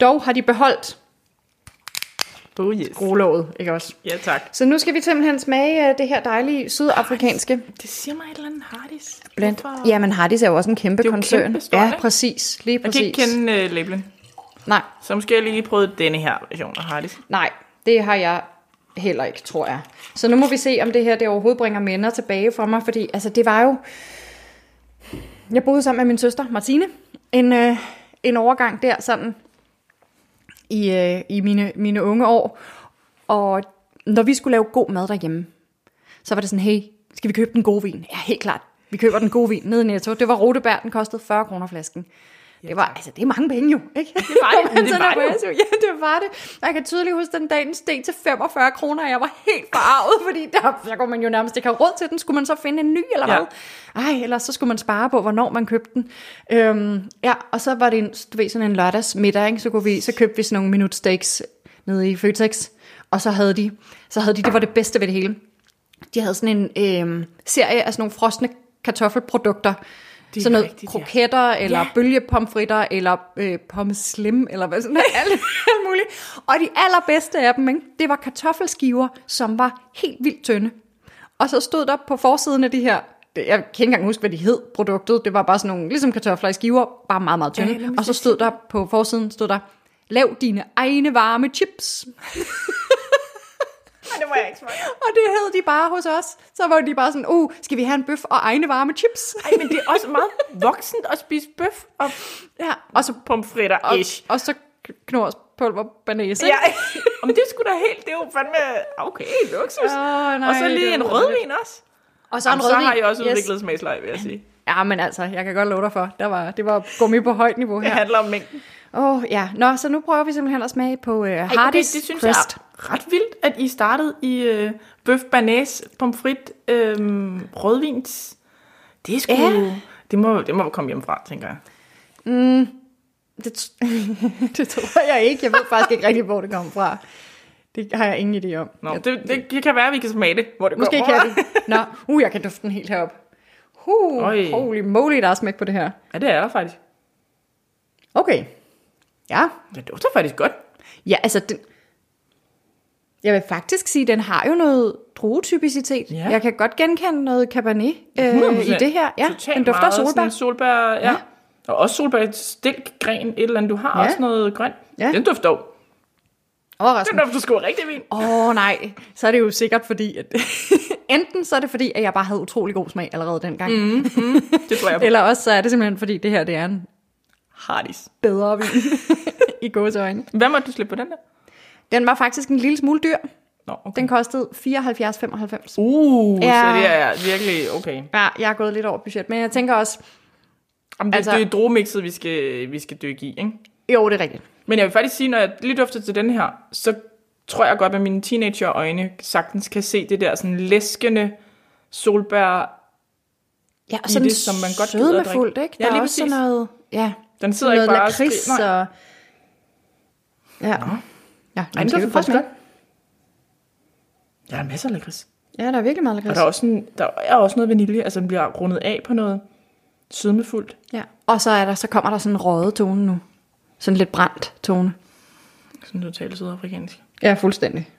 Speaker 2: Dog har de beholdt
Speaker 1: Oh yes.
Speaker 2: rolåget, ikke også?
Speaker 1: Ja, tak.
Speaker 2: Så nu skal vi simpelthen smage øh, det her dejlige sydafrikanske
Speaker 1: Det siger mig et eller andet Hardis.
Speaker 2: blend.
Speaker 1: Hvorfor-
Speaker 2: Jamen, Hardis er jo også en kæmpe
Speaker 1: Det er jo
Speaker 2: koncern.
Speaker 1: kæmpestort,
Speaker 2: ja,
Speaker 1: ikke?
Speaker 2: præcis. Lige
Speaker 1: Jeg
Speaker 2: præcis.
Speaker 1: kan ikke kende uh, labelen.
Speaker 2: Nej,
Speaker 1: Så måske jeg lige prøvet denne her version af Hardis.
Speaker 2: Nej, det har jeg heller ikke, tror jeg. Så nu må vi se, om det her det overhovedet bringer minder tilbage for mig, fordi altså, det var jo... Jeg boede sammen med min søster, Martine, en, øh, en overgang der sådan i, øh, i mine, mine unge år. Og når vi skulle lave god mad derhjemme, så var det sådan, hey, skal vi købe den gode vin? Ja, helt klart. Vi køber den gode vin nede i Netto. Det var rotebær, den kostede 40 kroner flasken. Det var, altså, det er mange penge jo, ikke? Det
Speaker 1: var det, men det var det jo.
Speaker 2: jo. Ja, det var det. Og jeg kan tydeligt huske, den dag den steg til 45 kroner, og jeg var helt forarvet, fordi der, der kunne man jo nærmest ikke have råd til den. Skulle man så finde en ny, eller
Speaker 1: Ja.
Speaker 2: hvad? Ej, ellers så skulle man spare på, hvornår man købte den. Øhm, ja, og så var det en, du ved, sådan en lørdagsmiddag, ikke? Så, kunne vi, så købte vi sådan nogle minutsteaks nede i Føtex, og så havde de, så havde de, det var det bedste ved det hele. De havde sådan en øhm, serie af sådan nogle frosne kartoffelprodukter,
Speaker 1: er
Speaker 2: sådan noget
Speaker 1: rigtigt, ja.
Speaker 2: kroketter, ja. eller
Speaker 1: Ja.
Speaker 2: bølgepomfritter, eller øh, pommes slim, eller hvad sådan noget, alt, alt muligt. Og de allerbedste af dem, ikke? det var kartoffelskiver, som var helt vildt tynde. Og så stod der på forsiden af de her, det- jeg kan ikke engang huske, hvad de hed, produktet, det var bare sådan nogle, ligesom kartofler i skiver, bare meget, meget tynde.
Speaker 1: Ja, lad mig
Speaker 2: og så stod der på forsiden, stod der, lav dine egne varme chips.
Speaker 1: Nej, det var jeg ikke smage.
Speaker 2: Og det hed de bare hos os. Så var de bare sådan, uh, skal vi have en bøf og egne varme chips?
Speaker 1: Ej, men det er også meget voksent at spise bøf og
Speaker 2: Ja, og så
Speaker 1: pomfritter
Speaker 2: Og,
Speaker 1: ish.
Speaker 2: og så knors pulver banase.
Speaker 1: Ja, om det skulle da helt, det er jo fandme, okay, luksus.
Speaker 2: Åh, nej,
Speaker 1: og så
Speaker 2: det
Speaker 1: lige
Speaker 2: er
Speaker 1: en
Speaker 2: underligt.
Speaker 1: rødvin også.
Speaker 2: Og så en
Speaker 1: Jamen, så
Speaker 2: rødvin.
Speaker 1: har jeg også
Speaker 2: Yes.
Speaker 1: udviklet yes. smagsleje, vil jeg sige.
Speaker 2: Ja, men altså, jeg kan godt love dig for. Der var, det var gummi på højt niveau
Speaker 1: Det
Speaker 2: her. Åh,
Speaker 1: handler om mængden.
Speaker 2: ja. Oh, ja. Nå, så nu prøver vi simpelthen at smage på uh,
Speaker 1: Ej, okay,
Speaker 2: Hardys
Speaker 1: det synes
Speaker 2: Crest.
Speaker 1: jeg er ret vildt, at I startede i øh, bøf, banæs, pomfrit, øh, rødvins. Det er sgu...
Speaker 2: Ja.
Speaker 1: Ja. Det må, det må komme hjemmefra, tænker jeg.
Speaker 2: Det, t- det tror jeg ikke. Jeg ved faktisk ikke rigtig, hvor det kom fra. Det har jeg ingen idé om.
Speaker 1: Nå,
Speaker 2: jeg,
Speaker 1: det, det, det, kan være, at vi kan smage det, hvor det
Speaker 2: måske
Speaker 1: kommer.
Speaker 2: kan jeg det. Nå, uh, jeg kan dufte den helt herop. Uh,
Speaker 1: Oj.
Speaker 2: holy moly, der er smæk på det her.
Speaker 1: Ja, det er der faktisk.
Speaker 2: Okay. Ja,
Speaker 1: Det dufter faktisk godt.
Speaker 2: Ja, altså, den, jeg vil faktisk sige, den har jo noget druetypicitet.
Speaker 1: Ja.
Speaker 2: Jeg kan godt genkende noget cabernet øh,
Speaker 1: 100%.
Speaker 2: i det her. Ja,
Speaker 1: Totalt
Speaker 2: den dufter af
Speaker 1: meget
Speaker 2: solbær.
Speaker 1: Sådan solbær, ja.
Speaker 2: Ja.
Speaker 1: ja. Og også solbær, stilk, gren, et eller andet. Du har
Speaker 2: Ja.
Speaker 1: ja. også noget grønt.
Speaker 2: Ja.
Speaker 1: Ja. Den dufter jo. Den
Speaker 2: Overraskende.
Speaker 1: dufter sgu af rigtig vin.
Speaker 2: Åh oh, nej, så er det jo sikkert fordi, at enten så er det fordi, at jeg bare havde utrolig god smag allerede dengang, mm.
Speaker 1: Det tror jeg på.
Speaker 2: eller også så er det simpelthen fordi, det her det er en
Speaker 1: Hardis.
Speaker 2: bedre vin i gåseøjne.
Speaker 1: Hvad måtte du slippe på den der?
Speaker 2: Den var faktisk en lille smule dyr.
Speaker 1: Nå, okay.
Speaker 2: Den kostede 74,95.
Speaker 1: Uh, ja. så
Speaker 2: Ja.
Speaker 1: det er virkelig okay.
Speaker 2: Ja, jeg er gået lidt over budget, men jeg tænker også,
Speaker 1: Jamen, det,
Speaker 2: Altså-
Speaker 1: altså, det er druemixet, vi skal, vi skal dykke i, ikke?
Speaker 2: Jo, det er rigtigt.
Speaker 1: Men jeg vil faktisk sige, når jeg lige dufter til den her, så tror jeg godt med mine teenagerøjne sagtens kan se det der sådan læskende solbær.
Speaker 2: Ja, og
Speaker 1: I
Speaker 2: sådan
Speaker 1: det, som man godt gider at drikke.
Speaker 2: sødmefuldt, ikke?
Speaker 1: Ja,
Speaker 2: Der er
Speaker 1: lige
Speaker 2: også sådan
Speaker 1: præcis.
Speaker 2: noget, ja,
Speaker 1: Den sidder
Speaker 2: sådan
Speaker 1: ikke
Speaker 2: noget
Speaker 1: bare og
Speaker 2: lakrids
Speaker 1: skriger.
Speaker 2: og... Ja. Ja,
Speaker 1: Nej, den
Speaker 2: skal vi
Speaker 1: dufter faktisk
Speaker 2: prøve
Speaker 1: godt. Ja, der er masser af lakrids.
Speaker 2: den? Ja, der er virkelig meget
Speaker 1: Og
Speaker 2: lakrids.
Speaker 1: der er, også en, der er også noget vanilje, altså den bliver rundet af på noget sødmefuldt.
Speaker 2: Ja. Og så, er der, så kommer der sådan en røget tone nu. Sådan lidt brændt tone.
Speaker 1: Sådan totalt sydafrikansk.
Speaker 2: Ja, fuldstændig.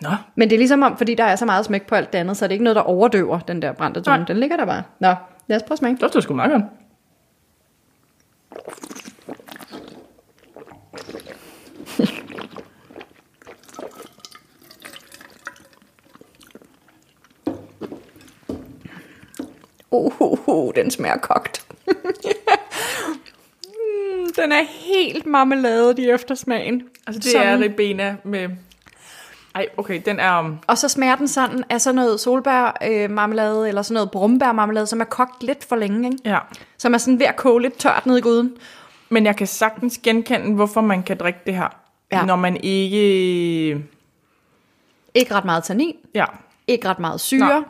Speaker 1: Nå,
Speaker 2: Men det er ligesom om, fordi der er så meget smæk på alt det andet, så er det ikke noget, der overdøver den der brændte tone.
Speaker 1: Nej.
Speaker 2: Den ligger der bare. Nå, lad os prøve at smage.
Speaker 1: det dufter sgu meget godt.
Speaker 2: Uh, uh, uh den smager kogt. Mm, den er helt marmelade i eftersmagen.
Speaker 1: Altså det
Speaker 2: Sådan.
Speaker 1: er ribena med... Ej, okay, den er... um,
Speaker 2: Og så smager den sådan af sådan noget solbærmarmelade, øh, marmelade, eller sådan noget brumbærmarmelade, som er kogt lidt for længe, ikke?
Speaker 1: Ja.
Speaker 2: Som er sådan ved at koge lidt tørt ned i gryden.
Speaker 1: Men jeg kan sagtens genkende, hvorfor man kan drikke det her.
Speaker 2: Ja.
Speaker 1: Ja. Når man ikke...
Speaker 2: Ikke ret meget tannin,
Speaker 1: Ja.
Speaker 2: ikke ret meget syre.
Speaker 1: Nej.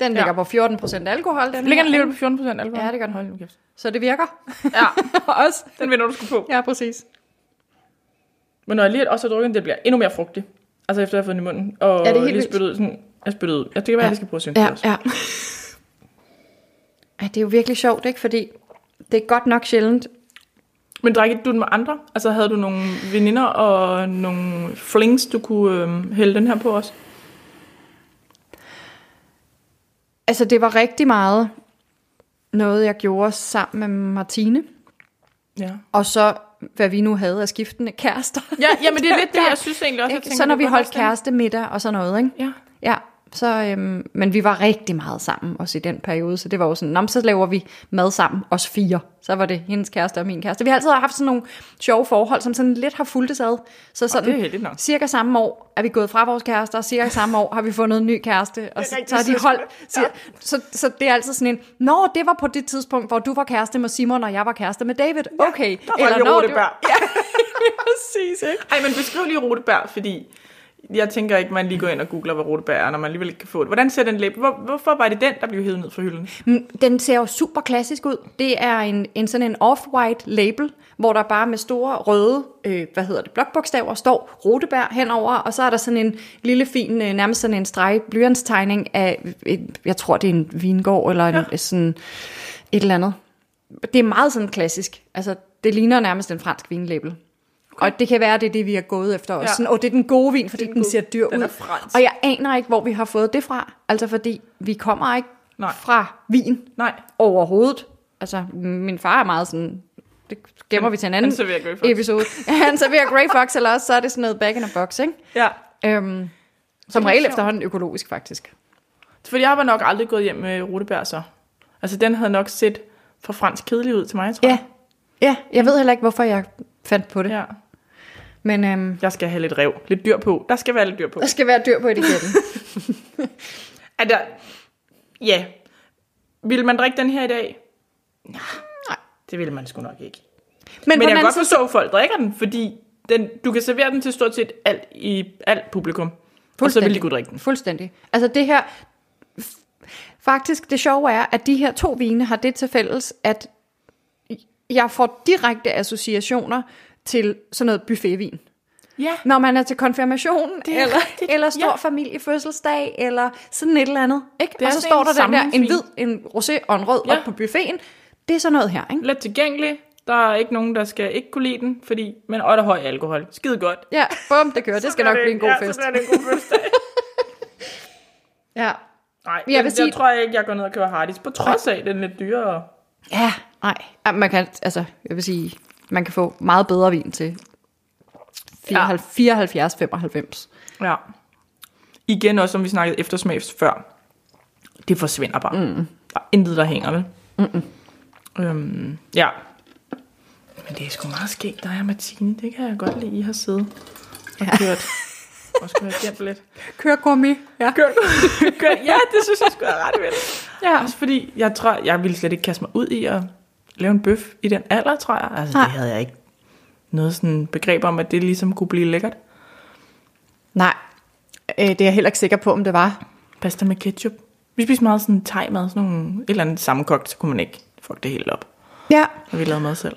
Speaker 2: Den
Speaker 1: Ja.
Speaker 2: ligger på 14% alkohol, den
Speaker 1: Ligger den
Speaker 2: her,
Speaker 1: alligevel på 14 procent alkohol?
Speaker 2: Ja, det gør den.
Speaker 1: Hold nu kæft.
Speaker 2: Så det virker
Speaker 1: Ja,
Speaker 2: også.
Speaker 1: den vinder du sgu på.
Speaker 2: Ja, præcis.
Speaker 1: Men når jeg lige også har drukket den, det bliver endnu mere frugtig. Altså efter jeg har fået den i munden. Og
Speaker 2: Ja, det er helt
Speaker 1: lige
Speaker 2: vildt.
Speaker 1: spyttet ud sådan... Jeg spyttet ud. Jeg tænker, at
Speaker 2: Ja.
Speaker 1: jeg lige skal prøve at synge
Speaker 2: Ja,
Speaker 1: det også.
Speaker 2: ja. Ej, det er jo virkelig sjovt, ikke? Fordi det er godt nok sjældent.
Speaker 1: Men drikkede du den med andre? Altså havde du nogle veninder og nogle flings, du kunne øhm, hælde den her på os?
Speaker 2: Altså, det var rigtig meget noget, jeg gjorde sammen med Martine.
Speaker 1: Ja.
Speaker 2: Og så, hvad vi nu havde af skiftende kærester.
Speaker 1: Ja, jamen det er lidt det, jeg synes egentlig også. Jeg
Speaker 2: Ikke? Så når
Speaker 1: det
Speaker 2: vi
Speaker 1: kunne
Speaker 2: holdt
Speaker 1: godt være
Speaker 2: kæreste middag og sådan noget, ikke?
Speaker 1: sådan. Ja.
Speaker 2: Ja, så, øhm, men vi var rigtig meget sammen også i den periode, så det var jo sådan, "Nå, men så laver vi mad sammen, os fire. Så var det hendes kæreste og min kæreste. Vi har altid haft sådan nogle sjove forhold, som sådan lidt har fulgt ad. Så sådan,
Speaker 1: det er heldigt nok.
Speaker 2: cirka samme år er vi gået fra vores kærester, og cirka samme år har vi fundet en ny kæreste, og så,
Speaker 1: rigtigt,
Speaker 2: så har de
Speaker 1: så-
Speaker 2: holdt. Så, så, så, det er altid sådan en, nå, det var på det tidspunkt, hvor du var kæreste med Simon, og jeg var kæreste med David. Okay.
Speaker 1: Der var lige
Speaker 2: "Nå, det var-
Speaker 1: rotebær. Ja.
Speaker 2: Præcis, ikke?
Speaker 1: Ej, men beskriv lige rotebær, fordi jeg tænker ikke, man lige går ind og googler, hvad rotebær er, når man alligevel ikke kan få det. Hvordan ser den læb? Hvor, hvorfor var det den, der blev hævet ned fra hylden?
Speaker 2: Mm, Den ser jo super klassisk ud. Det er en, en sådan en off-white label, hvor der bare med store røde, øh, hvad hedder det, blokbogstaver, står rotebær henover, og så er der sådan en lille fin, øh, nærmest sådan en streg blyantstegning af, et, jeg tror det er en vingård, eller en, ja. sådan et eller andet. Det er meget sådan klassisk. Altså, det ligner nærmest en fransk vinlabel. Okay. Og det kan være, det er det, vi har gået efter også.
Speaker 1: Ja.
Speaker 2: Ja. Sådan, og det er den gode vin, fordi
Speaker 1: er
Speaker 2: den,
Speaker 1: den
Speaker 2: den
Speaker 1: gode.
Speaker 2: ser dyr
Speaker 1: Den
Speaker 2: ud.
Speaker 1: er fransk.
Speaker 2: Og jeg aner ikke, hvor vi har fået det fra. Altså, fordi vi kommer ikke
Speaker 1: Nej.
Speaker 2: fra vin
Speaker 1: Nej.
Speaker 2: overhovedet. Altså, min far er meget sådan, det gemmer
Speaker 1: Han-
Speaker 2: vi til en anden
Speaker 1: han serverer Grey Fox.
Speaker 2: episode. Ja, han serverer Grey Fox, eller også så er det sådan noget back in a box, ikke?
Speaker 1: Ja.
Speaker 2: Øhm, som
Speaker 1: Det er
Speaker 2: regel
Speaker 1: sjovt.
Speaker 2: efterhånden økologisk, faktisk.
Speaker 1: Fordi jeg var nok aldrig gået hjem med rotebær så. Altså, den havde nok set for fransk kedelig ud til mig, tror jeg.
Speaker 2: Ja, ja jeg ved heller ikke, hvorfor jeg fandt på det. Ja.
Speaker 1: ja.
Speaker 2: Men øhm,
Speaker 1: Jeg skal have lidt rev. Lidt dyr på. Der skal være lidt dyr på.
Speaker 2: der skal være dyr på etiketten.
Speaker 1: Er der... Ja. Vil man drikke den her i dag? Nej. Det ville man sgu nok ikke. Men,
Speaker 2: på
Speaker 1: Men jeg
Speaker 2: den
Speaker 1: kan
Speaker 2: anden
Speaker 1: godt
Speaker 2: side-
Speaker 1: forstå, at folk drikker den, fordi den, du kan servere den til stort set alt i alt publikum. Og så vil de
Speaker 2: Fuldstændig.
Speaker 1: kunne drikke den.
Speaker 2: Fuldstændig. Altså det her, f- faktisk det sjove er, at de her to vine har det til fælles, at jeg får direkte associationer til sådan noget buffetvin.
Speaker 1: Ja.
Speaker 2: Når man er til konfirmation,
Speaker 1: Det er
Speaker 2: eller,
Speaker 1: rigtigt,
Speaker 2: eller stor
Speaker 1: ja.
Speaker 2: familiefødselsdag, eller sådan et eller andet. Ikke?
Speaker 1: Det er
Speaker 2: og så
Speaker 1: sådan
Speaker 2: står
Speaker 1: en
Speaker 2: der den der, en
Speaker 1: samlingsvin.
Speaker 2: hvid, en rosé og en rød
Speaker 1: Ja.
Speaker 2: ja. op på buffeten. Det er sådan noget her, ikke?
Speaker 1: Let tilgængelig. Der er ikke nogen, der skal ikke kunne lide den, fordi, men og der er høj alkohol. Skide godt.
Speaker 2: Ja, bum, det kører. det skal nok
Speaker 1: Så
Speaker 2: blive en god
Speaker 1: ja,
Speaker 2: fest.
Speaker 1: Så bliver det en god fest.
Speaker 2: Ja.
Speaker 1: Nej, jeg,
Speaker 2: vil
Speaker 1: jeg,
Speaker 2: sige-
Speaker 1: jeg tror ikke, jeg går ned og køber Hardis, på trods af, at den er lidt dyrere.
Speaker 2: Ja, nej. Ja, man kan, altså, jeg vil sige, man kan få meget bedre vin til 74, 95.
Speaker 1: Ja. Igen også, som vi snakkede eftersmag før. Det forsvinder bare. Mm. Der er intet, der hænger, vel? Mm-mm. Øhm, ja. Men det er sgu meget skægt, der er Martine. Det kan jeg godt lide, I har siddet og ja. kørt. Og skulle have gemt lidt.
Speaker 2: Kør gummi. Ja.
Speaker 1: Kørt, kørt. Ja, det synes jeg skulle være ret vildt.
Speaker 2: ja.
Speaker 1: Også fordi, jeg tror, jeg ville slet ikke kaste mig ud i at lave en bøf i den alder, tror jeg. Altså, Nej.
Speaker 2: Nej.
Speaker 1: det havde jeg ikke noget sådan begreb om, at det ligesom kunne blive lækkert.
Speaker 2: Nej, øh, det er jeg heller ikke sikker på, om det var.
Speaker 1: Pasta med ketchup. Vi spiste meget sådan thai-mad, sådan nogle, et eller andet sammenkogt, så kunne man ikke fuck det helt op,
Speaker 2: Ja.
Speaker 1: når vi lavede mad selv.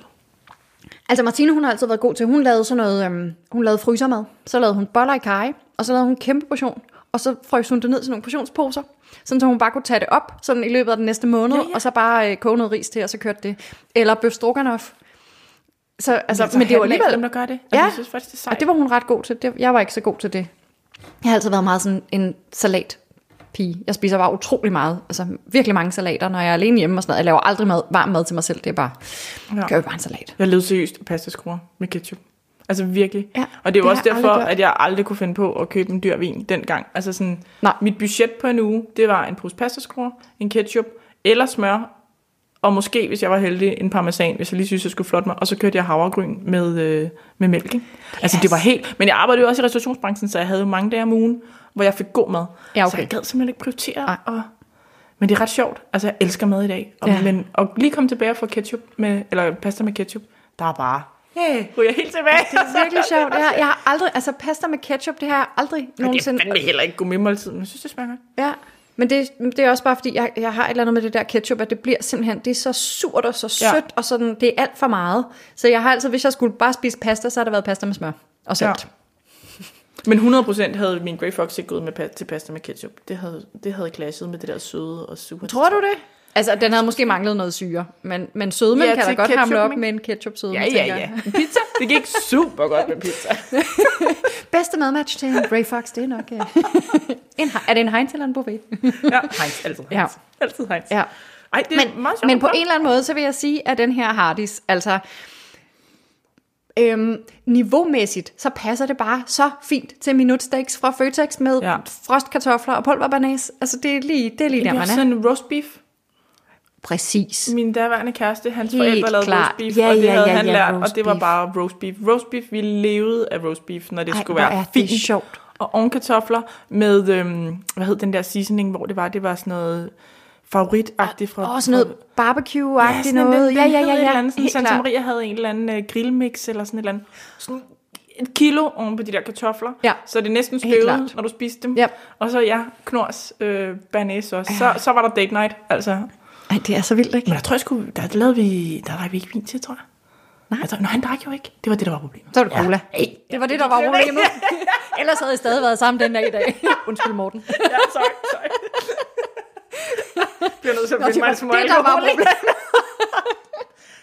Speaker 2: Altså Martine, hun har altid været god til, hun lavede sådan noget, øhm, hun lavede frysermad, så lavede hun boller i kaj, og så lavede hun en kæmpe portion, og så frøs hun det ned til nogle portionsposer, sådan så hun bare kunne tage det op, sådan i løbet af den næste måned, ja,
Speaker 1: Ja,
Speaker 2: ja.
Speaker 1: ja.
Speaker 2: og så bare øh, koge noget ris til, og så kørte det. Eller bøf stroganoff. Så, altså, men, men det var alligevel,
Speaker 1: dem, der gør det.
Speaker 2: Ja.
Speaker 1: Altså, jeg synes faktisk, det er sejt.
Speaker 2: og det var hun ret god til. Det, jeg var ikke så god til det. Jeg har altid været meget sådan en salat pige. Jeg spiser bare utrolig meget, altså virkelig mange salater, når jeg er alene hjemme og sådan noget. Jeg laver aldrig mad, varm mad til mig selv, det er bare, ja.
Speaker 1: Ja.
Speaker 2: gør jo bare en salat.
Speaker 1: Jeg levede seriøst af pastaskruer med ketchup. Altså virkelig.
Speaker 2: Ja,
Speaker 1: og det er jo
Speaker 2: det
Speaker 1: også
Speaker 2: har jeg
Speaker 1: derfor,
Speaker 2: aldrig gjort.
Speaker 1: at jeg aldrig kunne finde på at købe en dyr vin dengang. Altså sådan,
Speaker 2: Nej.
Speaker 1: mit budget på en uge, det var en pose pastaskruer, en ketchup eller smør, og måske, hvis jeg var heldig, en parmesan, hvis jeg lige synes, jeg skulle flotte mig. Og så kørte jeg havregryn med, øh, med mælk. Ikke? Altså, det var helt... Men jeg arbejdede jo også i restaurationsbranchen, så jeg havde jo mange dage om ugen, hvor jeg fik god mad.
Speaker 2: Ja, okay.
Speaker 1: Så jeg gad simpelthen ikke prioritere.
Speaker 2: Nej.
Speaker 1: Og... Men det er ret sjovt. Altså, jeg elsker mad i dag. Og,
Speaker 2: Ja.
Speaker 1: ja. men, og lige komme tilbage og få ketchup med, eller pasta med ketchup, der er bare... Hey, ryger jeg helt tilbage.
Speaker 2: Det er virkelig sjovt. Jeg, jeg har aldrig, altså pasta med ketchup, det har jeg aldrig
Speaker 1: Det er
Speaker 2: nogensinde.
Speaker 1: fandme heller ikke god med måltid, men jeg synes, det smager godt.
Speaker 2: Ja. Men det, det er også bare fordi, jeg, jeg har et eller andet med det der ketchup, at det bliver simpelthen, det er så surt og så
Speaker 1: Ja.
Speaker 2: sødt, ja. og sådan, det er alt for meget. Så jeg har altså, hvis jeg skulle bare spise pasta, så har der været pasta med smør og salt. Ja.
Speaker 1: Men 100% havde min Grey Fox ikke gået med pa- til pasta med ketchup. Det havde, det havde clashet med det der søde og sure.
Speaker 2: Tror du det? Altså, den havde måske manglet noget syre, men, men sødmen ja,
Speaker 1: Ja,
Speaker 2: kan da
Speaker 1: til
Speaker 2: godt hamle
Speaker 1: ketchupen,
Speaker 2: op
Speaker 1: ikke?
Speaker 2: med en ketchup sødme,
Speaker 1: Ja, ja, ja. En Pizza? Det gik super godt med pizza.
Speaker 2: Bedste madmatch til en Grey Fox, det er nok... Uh... en, he- er det en Heinz eller en Bouvet?
Speaker 1: Ja, Heinz, altid Heinz.
Speaker 2: Ja.
Speaker 1: Ja. Altid Heinz.
Speaker 2: ja.
Speaker 1: Ej, det er
Speaker 2: Men,
Speaker 1: meget sjovt.
Speaker 2: men på en eller anden måde, så vil jeg sige, at den her Hardis, altså... Øhm, niveaumæssigt, så passer det bare så fint til minutsteaks fra Føtex med ja.
Speaker 1: Ja.
Speaker 2: frostkartofler og pulverbanæs. Altså, det er lige, det er lige der,
Speaker 1: Det
Speaker 2: man
Speaker 1: er
Speaker 2: er.
Speaker 1: sådan en roast beef.
Speaker 2: Præcis.
Speaker 1: Min daværende kæreste, hans
Speaker 2: Helt
Speaker 1: Helt forældre lavede
Speaker 2: klart.
Speaker 1: roast beef,
Speaker 2: Ja,
Speaker 1: ja, og det
Speaker 2: ja,
Speaker 1: ja, havde
Speaker 2: ja,
Speaker 1: ja, han
Speaker 2: ja,
Speaker 1: ja, lært, og
Speaker 2: roast
Speaker 1: det var
Speaker 2: beef.
Speaker 1: bare roast beef. Roast beef, vi levede af roast beef, når det
Speaker 2: Ej,
Speaker 1: skulle
Speaker 2: hvor
Speaker 1: være
Speaker 2: er det
Speaker 1: fint.
Speaker 2: sjovt.
Speaker 1: Og ovenkartofler med, øhm, hvad hed den der seasoning, hvor det var, det var sådan noget favoritagtigt fra...
Speaker 2: Og sådan noget
Speaker 1: Ja,
Speaker 2: barbecue-agtigt
Speaker 1: sådan en-
Speaker 2: noget.
Speaker 1: den
Speaker 2: Ja, ja,
Speaker 1: hed
Speaker 2: ja,
Speaker 1: Et eller
Speaker 2: ja.
Speaker 1: andet, sådan,
Speaker 2: Helt
Speaker 1: Santa
Speaker 2: klart.
Speaker 1: Maria havde en eller anden øh, grillmix eller sådan et eller andet. Sådan et kilo oven på de der kartofler.
Speaker 2: Ja.
Speaker 1: Så det næsten
Speaker 2: Helt
Speaker 1: støvede,
Speaker 2: klart.
Speaker 1: når du spiste dem.
Speaker 2: Ja.
Speaker 1: Og så ja, knors øh, banæs også. Så, så var der date night, altså.
Speaker 2: Ej, det er så vildt, ikke?
Speaker 1: Men jeg tror, jeg skulle, der lavede vi, der drak vi ikke vin til, tror jeg. Nej. Jeg tror, nej, han drak jo ikke. Det var det, der var problemet.
Speaker 2: Så var det cola. Ja. Det var det, der var problemet. Ellers havde I stadig været sammen den dag i dag. Undskyld, Morten. Det,
Speaker 1: Ja, sorry, sorry. Jeg bliver nødt til at finde mig en smule
Speaker 2: der var
Speaker 1: alkohol.
Speaker 2: problemet.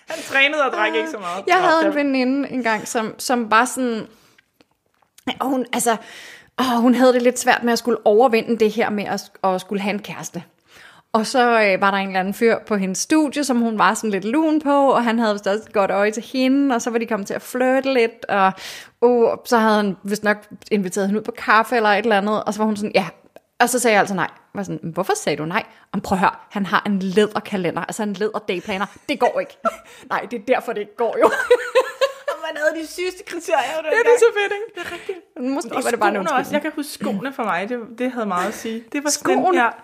Speaker 1: Han trænede og drak ikke så meget.
Speaker 2: Jeg
Speaker 1: Nå,
Speaker 2: havde en
Speaker 1: der-
Speaker 2: veninde engang, som, som var sådan... Og hun, altså, åh, hun havde det lidt svært med at skulle overvinde det her med at, at skulle have en kæreste. Og så øh, var der en eller anden fyr på hendes studie, som hun var sådan lidt lun på, og han havde vist også et godt øje til hende, og så var de kommet til at flirte lidt, og uh, så havde han vist nok inviteret hende ud på kaffe eller et eller andet, og så var hun sådan, ja, og så sagde jeg altså nej. Jeg var sådan, "Men hvorfor sagde du nej? Om prøv at høre, han har en læderkalender, altså en læder dayplaner. Det går ikke. nej, det er derfor, det ikke går jo.
Speaker 1: Man havde de sygeste kriterier. Det
Speaker 2: Ja, det er så fedt, ikke?
Speaker 1: Det er rigtigt.
Speaker 2: Måske
Speaker 1: Og
Speaker 2: var det bare en
Speaker 1: skoene også.
Speaker 2: undskyldning.
Speaker 1: Jeg kan huske skoene for mig. Det, det havde meget at sige. Det var sådan
Speaker 2: Skoene?
Speaker 1: den her. Du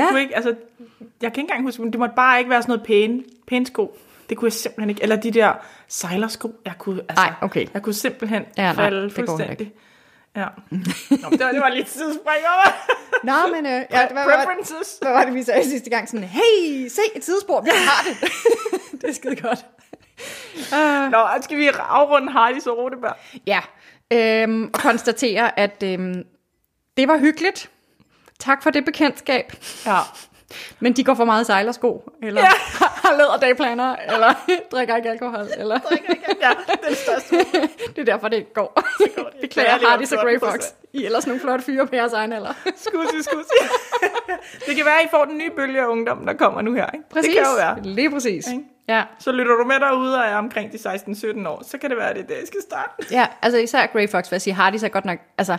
Speaker 2: Ja.
Speaker 1: ja. kunne ikke, altså, jeg kan ikke engang huske, men det måtte bare ikke være sådan noget pæne, pæne sko. Det kunne jeg simpelthen ikke. Eller de der sejlersko. Jeg kunne, altså,
Speaker 2: Nej, okay.
Speaker 1: jeg kunne simpelthen
Speaker 2: Ja, nej,
Speaker 1: ja, falde
Speaker 2: det går heller
Speaker 1: fuldstændig. Ja. Nå, men det, var, det var lidt tidsspring over.
Speaker 2: Nå, men øh, ja, det var, hvad,
Speaker 1: Preferences.
Speaker 2: hvad var det, vi sagde sidste gang? Sådan, hey, se et sidespor, vi har det. det er skide godt.
Speaker 1: Nå, skal vi afrunde Hardys og Rodeberg?
Speaker 2: Øh, Ja, øhm, og konstatere, at øhm, det var hyggeligt. Tak for det bekendtskab.
Speaker 1: Ja.
Speaker 2: Men de går for meget i sejlersko, eller ja.
Speaker 1: Ja.
Speaker 2: har læderdagplaner, eller drikker ikke alkohol, eller
Speaker 1: ja, det er det største.
Speaker 2: det er derfor, det ikke går.
Speaker 1: Det
Speaker 2: Beklager Hardis og Grey
Speaker 1: 14%.
Speaker 2: Fox. I er ellers nogle flotte fyre på jeres egen alder.
Speaker 1: Skusi, skusi. det kan være, at I får den nye bølge af ungdom, der kommer nu her. Ikke?
Speaker 2: Præcis.
Speaker 1: Det kan jo være.
Speaker 2: Lige præcis.
Speaker 1: Ikke?
Speaker 2: Ja.
Speaker 1: Så lytter du med derude og er omkring de 16-17 år, så kan det være, at det er der, I skal starte.
Speaker 2: Ja, altså især Grey Fox, vil jeg sige, Hardys er godt nok, altså,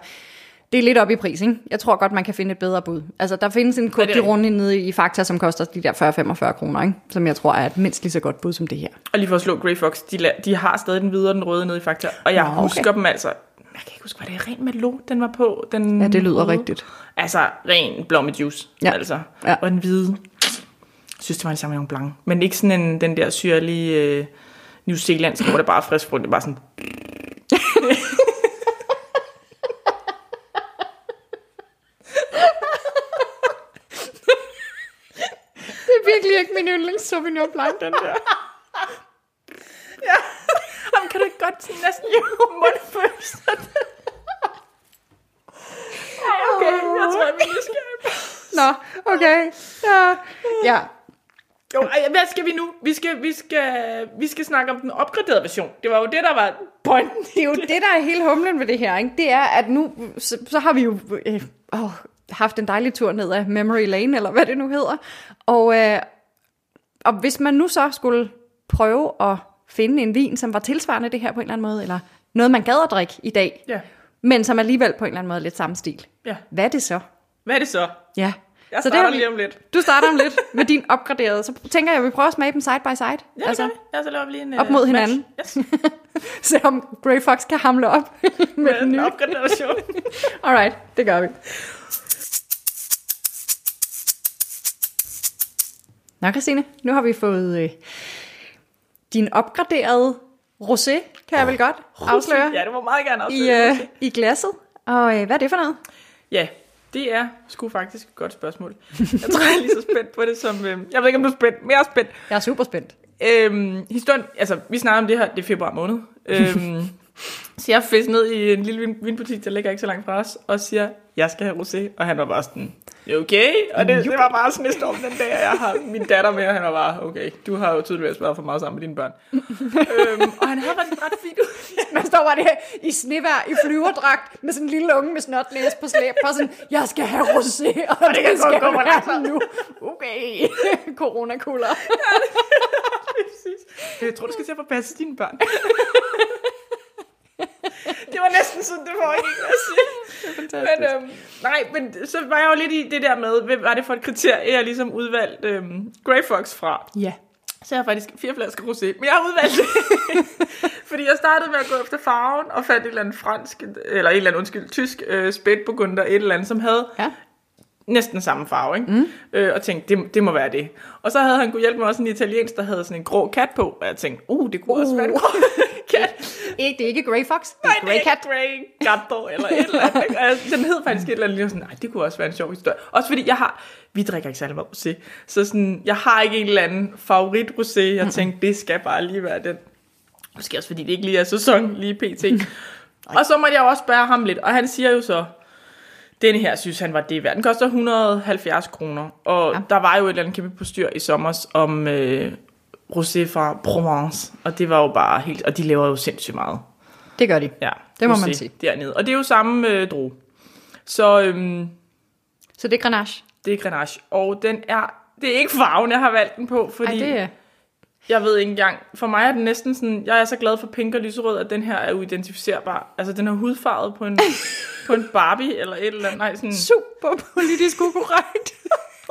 Speaker 2: det er lidt op i pris, ikke? Jeg tror godt, man kan finde et bedre bud. Altså, der findes en kort
Speaker 1: rigtigt.
Speaker 2: runde nede i Fakta, som koster de der 40-45 kroner, ikke? Som jeg tror er et mindst lige så godt bud som det her.
Speaker 1: Og lige for at slå Grey Fox, de, la- de har stadig den hvide og den røde nede i Fakta. Og jeg
Speaker 2: Nå,
Speaker 1: Nå,
Speaker 2: okay.
Speaker 1: okay. husker dem altså. Jeg kan ikke huske, var det ren Malo, den var på? Den
Speaker 2: Ja, det lyder
Speaker 1: røde?
Speaker 2: rigtigt.
Speaker 1: Altså, ren blommejuice.
Speaker 2: Ja.
Speaker 1: Ja. Altså.
Speaker 2: Ja.
Speaker 1: Ja. Og den hvide. Jeg synes, det var en Sauvignon Blanc. Men ikke sådan en, den der syrlige øh, New Zealandsk, hvor det bare er frisk frugt. Det er bare sådan...
Speaker 2: Det er virkelig ikke min yndlings Sauvignon Blanc, den der.
Speaker 1: Jamen, kan du ikke godt sådan næsten lave mundfølelse? Ej, okay. Jeg tror, jeg vil nysgerrig.
Speaker 2: Nå, okay. Ja. ja.
Speaker 1: Jo, ej, hvad skal vi nu? Vi skal, vi, skal, vi skal snakke om den opgraderede version. Det var jo det, der var pointen.
Speaker 2: Det er jo det, der er hele humlen ved det her, ikke? Det er, at nu, så, så har vi jo øh, åh, haft en dejlig tur ned ad Memory Lane, eller hvad det nu hedder. Og, øh, og hvis man nu så skulle prøve at finde en vin, som var tilsvarende det her på en eller anden måde, eller noget, man gad at drikke i dag,
Speaker 1: Ja.
Speaker 2: men som alligevel på en eller anden måde er lidt samme stil.
Speaker 1: Ja.
Speaker 2: Hvad er det så?
Speaker 1: Hvad er det så?
Speaker 2: Ja.
Speaker 1: Jeg
Speaker 2: så det
Speaker 1: starter
Speaker 2: har vi-
Speaker 1: lige om lidt.
Speaker 2: Du starter om lidt med din opgraderede. Så tænker jeg, at vi prøver at smage dem side by side.
Speaker 1: Ja, altså, det gør vi. Ja, så laver vi lige en... øh,
Speaker 2: op mod hinanden.
Speaker 1: Yes,
Speaker 2: se om Grey Fox kan hamle op med
Speaker 1: med
Speaker 2: den
Speaker 1: den
Speaker 2: nye.
Speaker 1: opgraderede version.
Speaker 2: Alright, det gør vi. Nå, Christine, nu har vi fået øh, din opgraderede rosé, kan jeg vel godt afsløre,
Speaker 1: Ja, det må meget gerne
Speaker 2: i,
Speaker 1: afsløre.
Speaker 2: øh, i glasset. Og øh, hvad er det for noget?
Speaker 1: Ja, det er sgu faktisk et godt spørgsmål. Jeg tror, jeg er lige så spændt på det som... Øh, jeg ved ikke, om du er spændt, men jeg er spændt.
Speaker 2: Jeg er super spændt.
Speaker 1: Øhm, historien, altså, vi snakker om det her, det er februar måned. Øhm, så jeg fisk ned i en lille vin, vinbutik, der ligger ikke så langt fra os, og siger, jeg skal have rosé. Og han var bare sådan, "Ja, okay? Og det, det var bare snestorm den dag, og jeg har min datter med, og han var bare, okay, du har jo tydeligvis været for meget sammen med dine børn. øhm, og han havde faktisk en ret fint ud.
Speaker 2: Man står bare der i snevær, i flyverdragt, med sådan en lille unge med snotlæs på slæb, og sådan, jeg skal have rosé, og, og det,
Speaker 1: kan godt
Speaker 2: det skal
Speaker 1: gå for
Speaker 2: være nu. Okay, coronakuller.
Speaker 1: Jeg tror, du skal til at få passet dine børn. det var næsten sådan, det var ikke at sige. Men, øhm, nej, men så var jeg jo lidt i det der med, hvad var det for et kriterie, jeg ligesom udvalgte øhm, Grey Fox fra.
Speaker 2: Ja.
Speaker 1: Så jeg har faktisk fire flasker rosé, men jeg har udvalgt det. Fordi jeg startede med at gå efter farven, og fandt et eller andet fransk, eller et eller andet, undskyld, tysk øh, spætburgunder, et eller andet, som havde
Speaker 2: ja.
Speaker 1: næsten samme farve, ikke? Mm. Øh, og tænkte, det, det må være det. Og så havde han kunne hjælpe mig også en italiensk, der havde sådan en grå kat på, og jeg tænkte, uh, det kunne uh. også være en grå kat.
Speaker 2: Ikke, Eh, det er ikke Grey Fox, det
Speaker 1: Nej,
Speaker 2: er
Speaker 1: det er
Speaker 2: Grey
Speaker 1: ikke
Speaker 2: Cat.
Speaker 1: Grey Gatto, eller et eller andet. ikke? Og jeg, den hed faktisk et eller andet, lige sådan, nej, det kunne også være en sjov historie. Også fordi jeg har, vi drikker ikke særlig meget rosé, så sådan, jeg har ikke en eller anden favorit rosé, jeg tænkte, det skal bare lige være den. Måske også fordi det ikke lige er sæson, lige pt. og så måtte jeg jo også spørge ham lidt, og han siger jo så, den her synes han var det værd. Den koster 170 kroner, og ja. der var jo et eller andet kæmpe postyr i sommer om øh, rosé fra Provence, og det var jo bare helt, og de laver jo sindssygt meget.
Speaker 2: Det gør de.
Speaker 1: Ja,
Speaker 2: Det må
Speaker 1: rosé
Speaker 2: man sige.
Speaker 1: Dernede. Og det er jo samme øh, drue. Så øhm,
Speaker 2: Så det er Grenache.
Speaker 1: det er Grenache. Og den er, det er ikke farven, jeg har valgt den på,
Speaker 2: Ej,
Speaker 1: fordi Ej,
Speaker 2: det er...
Speaker 1: jeg ved ikke engang. For mig er den næsten sådan, jeg er så glad for pink og lyserød, at den her er uidentificerbar. Altså, den er hudfarvet på en, på en Barbie eller et eller andet. Nej, sådan...
Speaker 2: Super politisk ukorrekt.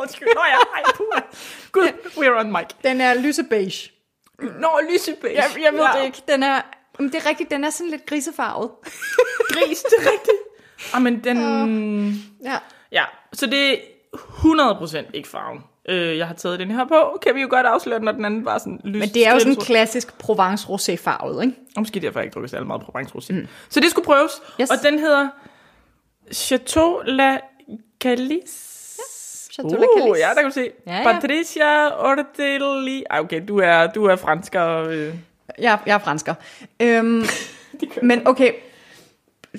Speaker 1: Undskyld, nå ja, ej, puha. Gud, we're on mic.
Speaker 2: Den er lysebeige.
Speaker 1: Nå, lysebæs.
Speaker 2: Jeg, jeg ved det ikke. Den er... Jamen, det er rigtigt, den er sådan lidt grisefarvet.
Speaker 1: Gris, det er rigtigt. Jamen, den...
Speaker 2: Ja.
Speaker 1: Ja, så det er 100% ikke farven. Øh, jeg har taget den her på. Kan vi jo godt afsløre, når den anden var sådan lys.
Speaker 2: Men det er jo sådan en
Speaker 1: stridensrød.
Speaker 2: klassisk Provence-rosé-farvet, ikke?
Speaker 1: Og Måske derfor har jeg ikke drukket særlig meget provence rosé. Mm. Så det skulle prøves.
Speaker 2: Yes.
Speaker 1: Yes. Og den hedder Chateau La Calice.
Speaker 2: Chateau La Calice.
Speaker 1: ja, der kan du se.
Speaker 2: Uh, Ja, ja.
Speaker 1: Patricia Ortelli. Ej, okay, du er, du er fransker. Øh.
Speaker 2: Jeg, jeg er fransker. Øhm, men okay,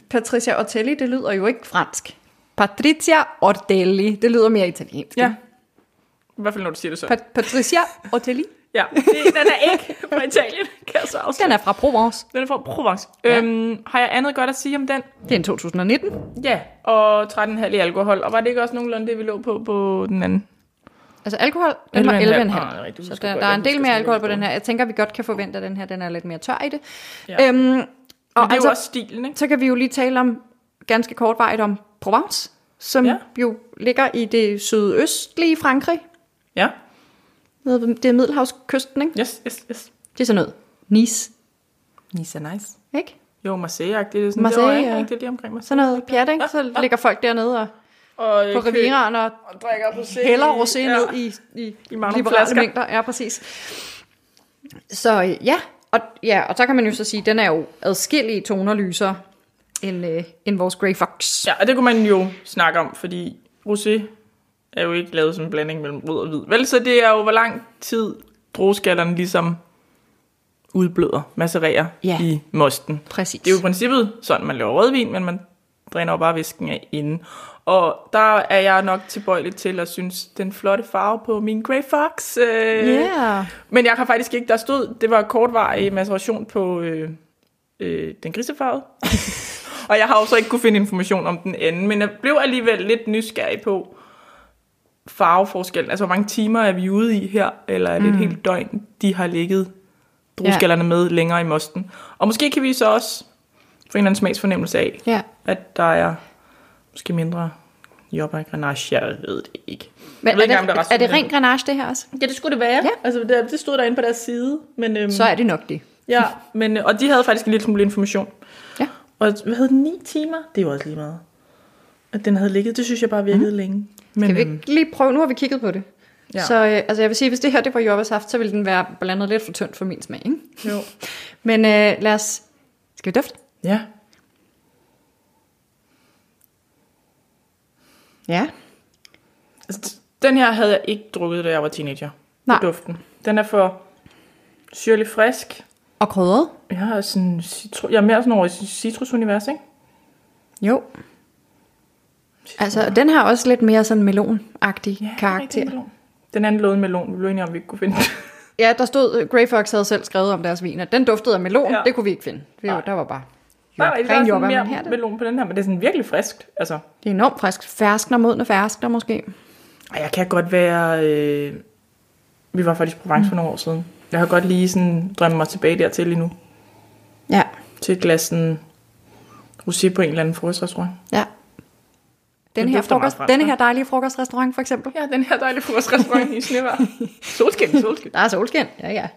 Speaker 2: Patricia Ortelli, det lyder jo ikke fransk. Patricia Ortelli, det lyder mere italiensk.
Speaker 1: Ja. I hvert fald, når du siger det så.
Speaker 2: Pa- Patricia Ortelli,
Speaker 1: ja, det, den er ikke fra Italien, kan jeg så afsløre.
Speaker 2: den er fra Provence.
Speaker 1: Den er fra Provence.
Speaker 2: Ja.
Speaker 1: Ja. Øhm, har jeg andet godt at sige om den?
Speaker 2: Det er en 2019.
Speaker 1: Ja, og 13,5 i alkohol. Og var det ikke også nogenlunde det, vi lå på på den anden?
Speaker 2: Altså alkohol, den
Speaker 1: 11,5.
Speaker 2: var 11,5.
Speaker 1: Ah, nej, du
Speaker 2: så
Speaker 1: husker
Speaker 2: der,
Speaker 1: godt.
Speaker 2: der er
Speaker 1: Jeg
Speaker 2: en del
Speaker 1: husker
Speaker 2: mere
Speaker 1: slet
Speaker 2: alkohol
Speaker 1: ikke
Speaker 2: på den
Speaker 1: det.
Speaker 2: her. Jeg tænker, vi godt kan forvente, at den her den er lidt mere tør i det.
Speaker 1: Ja.
Speaker 2: Ja.
Speaker 1: Og
Speaker 2: Øhm, og
Speaker 1: det er
Speaker 2: altså,
Speaker 1: jo også stilen, ikke?
Speaker 2: så kan vi jo lige tale om, ganske kortvarigt om Provence, som ja.
Speaker 1: Ja.
Speaker 2: jo ligger i det sydøstlige Frankrig,
Speaker 1: Ja,
Speaker 2: nede ved det er Middelhavskysten, ikke?
Speaker 1: yes, yes, yes.
Speaker 2: Det er sådan noget. Nice,
Speaker 1: Nice er nice.
Speaker 2: ikke?
Speaker 1: Jo, marseille det er sådan
Speaker 2: Marseille,
Speaker 1: det,
Speaker 2: ja.
Speaker 1: ja. ikke? Det er lige omkring Marseille.
Speaker 2: Sådan noget pjat, ikke? Så ligger folk dernede og
Speaker 1: Og, øh,
Speaker 2: på
Speaker 1: kø-
Speaker 2: Rivieraen og
Speaker 1: Og drikker rosé.
Speaker 2: hælder rosé ned i, i,
Speaker 1: I mange
Speaker 2: liberale
Speaker 1: flasker.
Speaker 2: mængder. Ja, præcis. Så øh, ja, Og, ja, og så kan man jo så sige, at den er jo adskillige toner lysere end, øh, end vores Grey Fox.
Speaker 1: Ja, og det kunne man jo snakke om, fordi rosé er jo ikke lavet som en blanding mellem rød og hvid. Vel, så det er jo, hvor lang tid drueskallerne ligesom udbløder, massererer
Speaker 2: Ja.
Speaker 1: ja. i mosten.
Speaker 2: Præcis.
Speaker 1: Det er jo i princippet sådan, man laver rødvin, men man dræner jo bare væsken af inden. Og der er jeg nok tilbøjelig til at synes, den flotte farve på min Grey Fox. Øh,
Speaker 2: Yeah.
Speaker 1: Men jeg har faktisk ikke, der stod, det var kortvarig maceration på øh, øh, den grisefarvede. og jeg har også ikke kunne finde information om den anden, men jeg blev alligevel lidt nysgerrig på farveforskellen. Altså, hvor mange timer er vi ude i her, eller er det mm. et helt døgn, de har ligget drueskallerne med længere i mosten. Og måske kan vi så også få en eller anden smagsfornemmelse af,
Speaker 2: Ja.
Speaker 1: at der er måske mindre jobber i Grenache, jeg ved det ikke.
Speaker 2: Men
Speaker 1: ved
Speaker 2: er,
Speaker 1: ikke engang, om
Speaker 2: det,
Speaker 1: der
Speaker 2: er,
Speaker 1: var
Speaker 2: er det
Speaker 1: sådan
Speaker 2: ren granage, det her også?
Speaker 1: Ja, det skulle det være.
Speaker 2: Ja.
Speaker 1: Altså, det, det stod derinde på deres side. Men, øhm,
Speaker 2: Så er det nok det.
Speaker 1: Ja, men, øh, og de havde faktisk en lille smule information.
Speaker 2: Ja.
Speaker 1: Og hvad hed den? 9 timer? Det er jo også lige meget. At den havde ligget, det synes jeg bare virkede mm. længe. Men
Speaker 2: Kan Mhm. vi
Speaker 1: øhm,
Speaker 2: ikke lige prøve? Nu har vi kigget på det. Ja.
Speaker 1: Ja.
Speaker 2: Så øh, altså jeg vil sige, hvis det her det var jordbærsaft, så ville den være blandet lidt for tyndt for min smag. Ikke?
Speaker 1: jo.
Speaker 2: Men øh, lad os... Skal vi dufte?
Speaker 1: Ja.
Speaker 2: Ja.
Speaker 1: Altså, d- Den her havde jeg ikke drukket, da jeg var teenager.
Speaker 2: Nej.
Speaker 1: Det er Duften. Den er for syrlig frisk.
Speaker 2: Og krydret?
Speaker 1: Jeg er, sådan citru- jeg er mere sådan over i citrusunivers, ikke?
Speaker 2: Jo. Altså, den har også lidt mere sådan melonagtig ja,
Speaker 1: rigtig
Speaker 2: karakter.
Speaker 1: melon. Den anden lå en melon. Vi blev enige om, vi ikke kunne finde den.
Speaker 2: Ja, der stod, øh, Grey Fox havde selv skrevet om deres vin, at den duftede af melon, ja.
Speaker 1: Ja.
Speaker 2: det kunne vi ikke finde. Det var,
Speaker 1: Nej.
Speaker 2: der var bare
Speaker 1: Der er rigtig der er
Speaker 2: ren
Speaker 1: sådan
Speaker 2: jordbær, men
Speaker 1: mere
Speaker 2: her er det.
Speaker 1: melon på den her, men det er sådan virkelig friskt. Altså,
Speaker 2: Det er enormt frisk. Ferskner modne ferskner måske.
Speaker 1: Og jeg kan godt være... Øh, vi var faktisk i Provence for nogle år siden. Jeg har godt lige sådan drømme mig tilbage dertil lige nu.
Speaker 2: Ja.
Speaker 1: Til et glas sådan, rosé på en eller anden frokostrestaurant.
Speaker 2: ja. Den
Speaker 1: Det
Speaker 2: her,
Speaker 1: dufter meget
Speaker 2: frokost,
Speaker 1: fransk,
Speaker 2: denne
Speaker 1: hva'?
Speaker 2: her dejlige frokostrestaurant for eksempel.
Speaker 1: Ja, den her dejlige frokostrestaurant i Snevær. Solskin, solskin.
Speaker 2: Der er solskin. Ja, ja.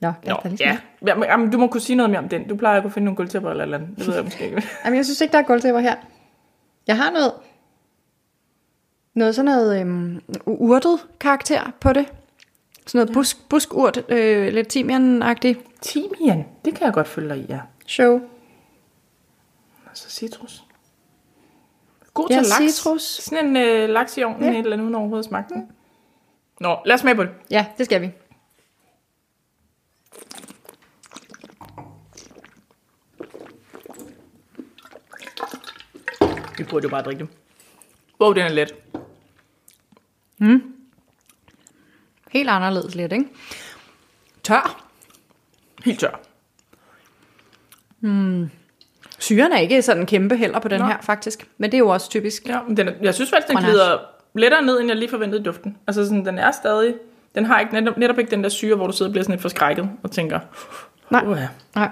Speaker 2: Nå, lad os da
Speaker 1: Nå,
Speaker 2: lige
Speaker 1: ja.
Speaker 2: snakke.
Speaker 1: Jamen, jamen, du må kunne sige noget mere om den. Du plejer at kunne finde nogle guldtæpper eller et eller andet. Det ved jeg måske ikke.
Speaker 2: Jamen, jeg synes ikke, der er gulvtæpper her. Jeg har noget, noget sådan noget øhm, urtet karakter på det. Sådan noget busk, buskurt, øh, lidt timian-agtigt
Speaker 1: Timian, det kan jeg godt følge dig i, ja.
Speaker 2: show.
Speaker 1: Altså citrus. God til
Speaker 2: Ja,
Speaker 1: laks.
Speaker 2: citrus.
Speaker 1: Sådan en øh, laks i ovnen,
Speaker 2: Ja.
Speaker 1: ja. et eller andet, uden overhovedet at smage den. Nå, lad os smage på det.
Speaker 2: Ja, det skal vi.
Speaker 1: Vi burde jo bare drikke det. Wow, den er let.
Speaker 2: Helt anderledes lidt, ikke? Tør.
Speaker 1: Helt tør.
Speaker 2: Syren er ikke sådan kæmpe heller på den Nå.
Speaker 1: Nå.
Speaker 2: her, faktisk. Men det er jo også typisk.
Speaker 1: Ja, men den er, jeg synes faktisk, den
Speaker 2: Grenache.
Speaker 1: glider lettere ned, end jeg lige forventede i duften. Altså sådan, den er stadig... Den har ikke, netop, netop ikke den der syre, hvor du sidder og bliver sådan lidt forskrækket og tænker...
Speaker 2: Nej.
Speaker 1: Uh, ja.
Speaker 2: Nej.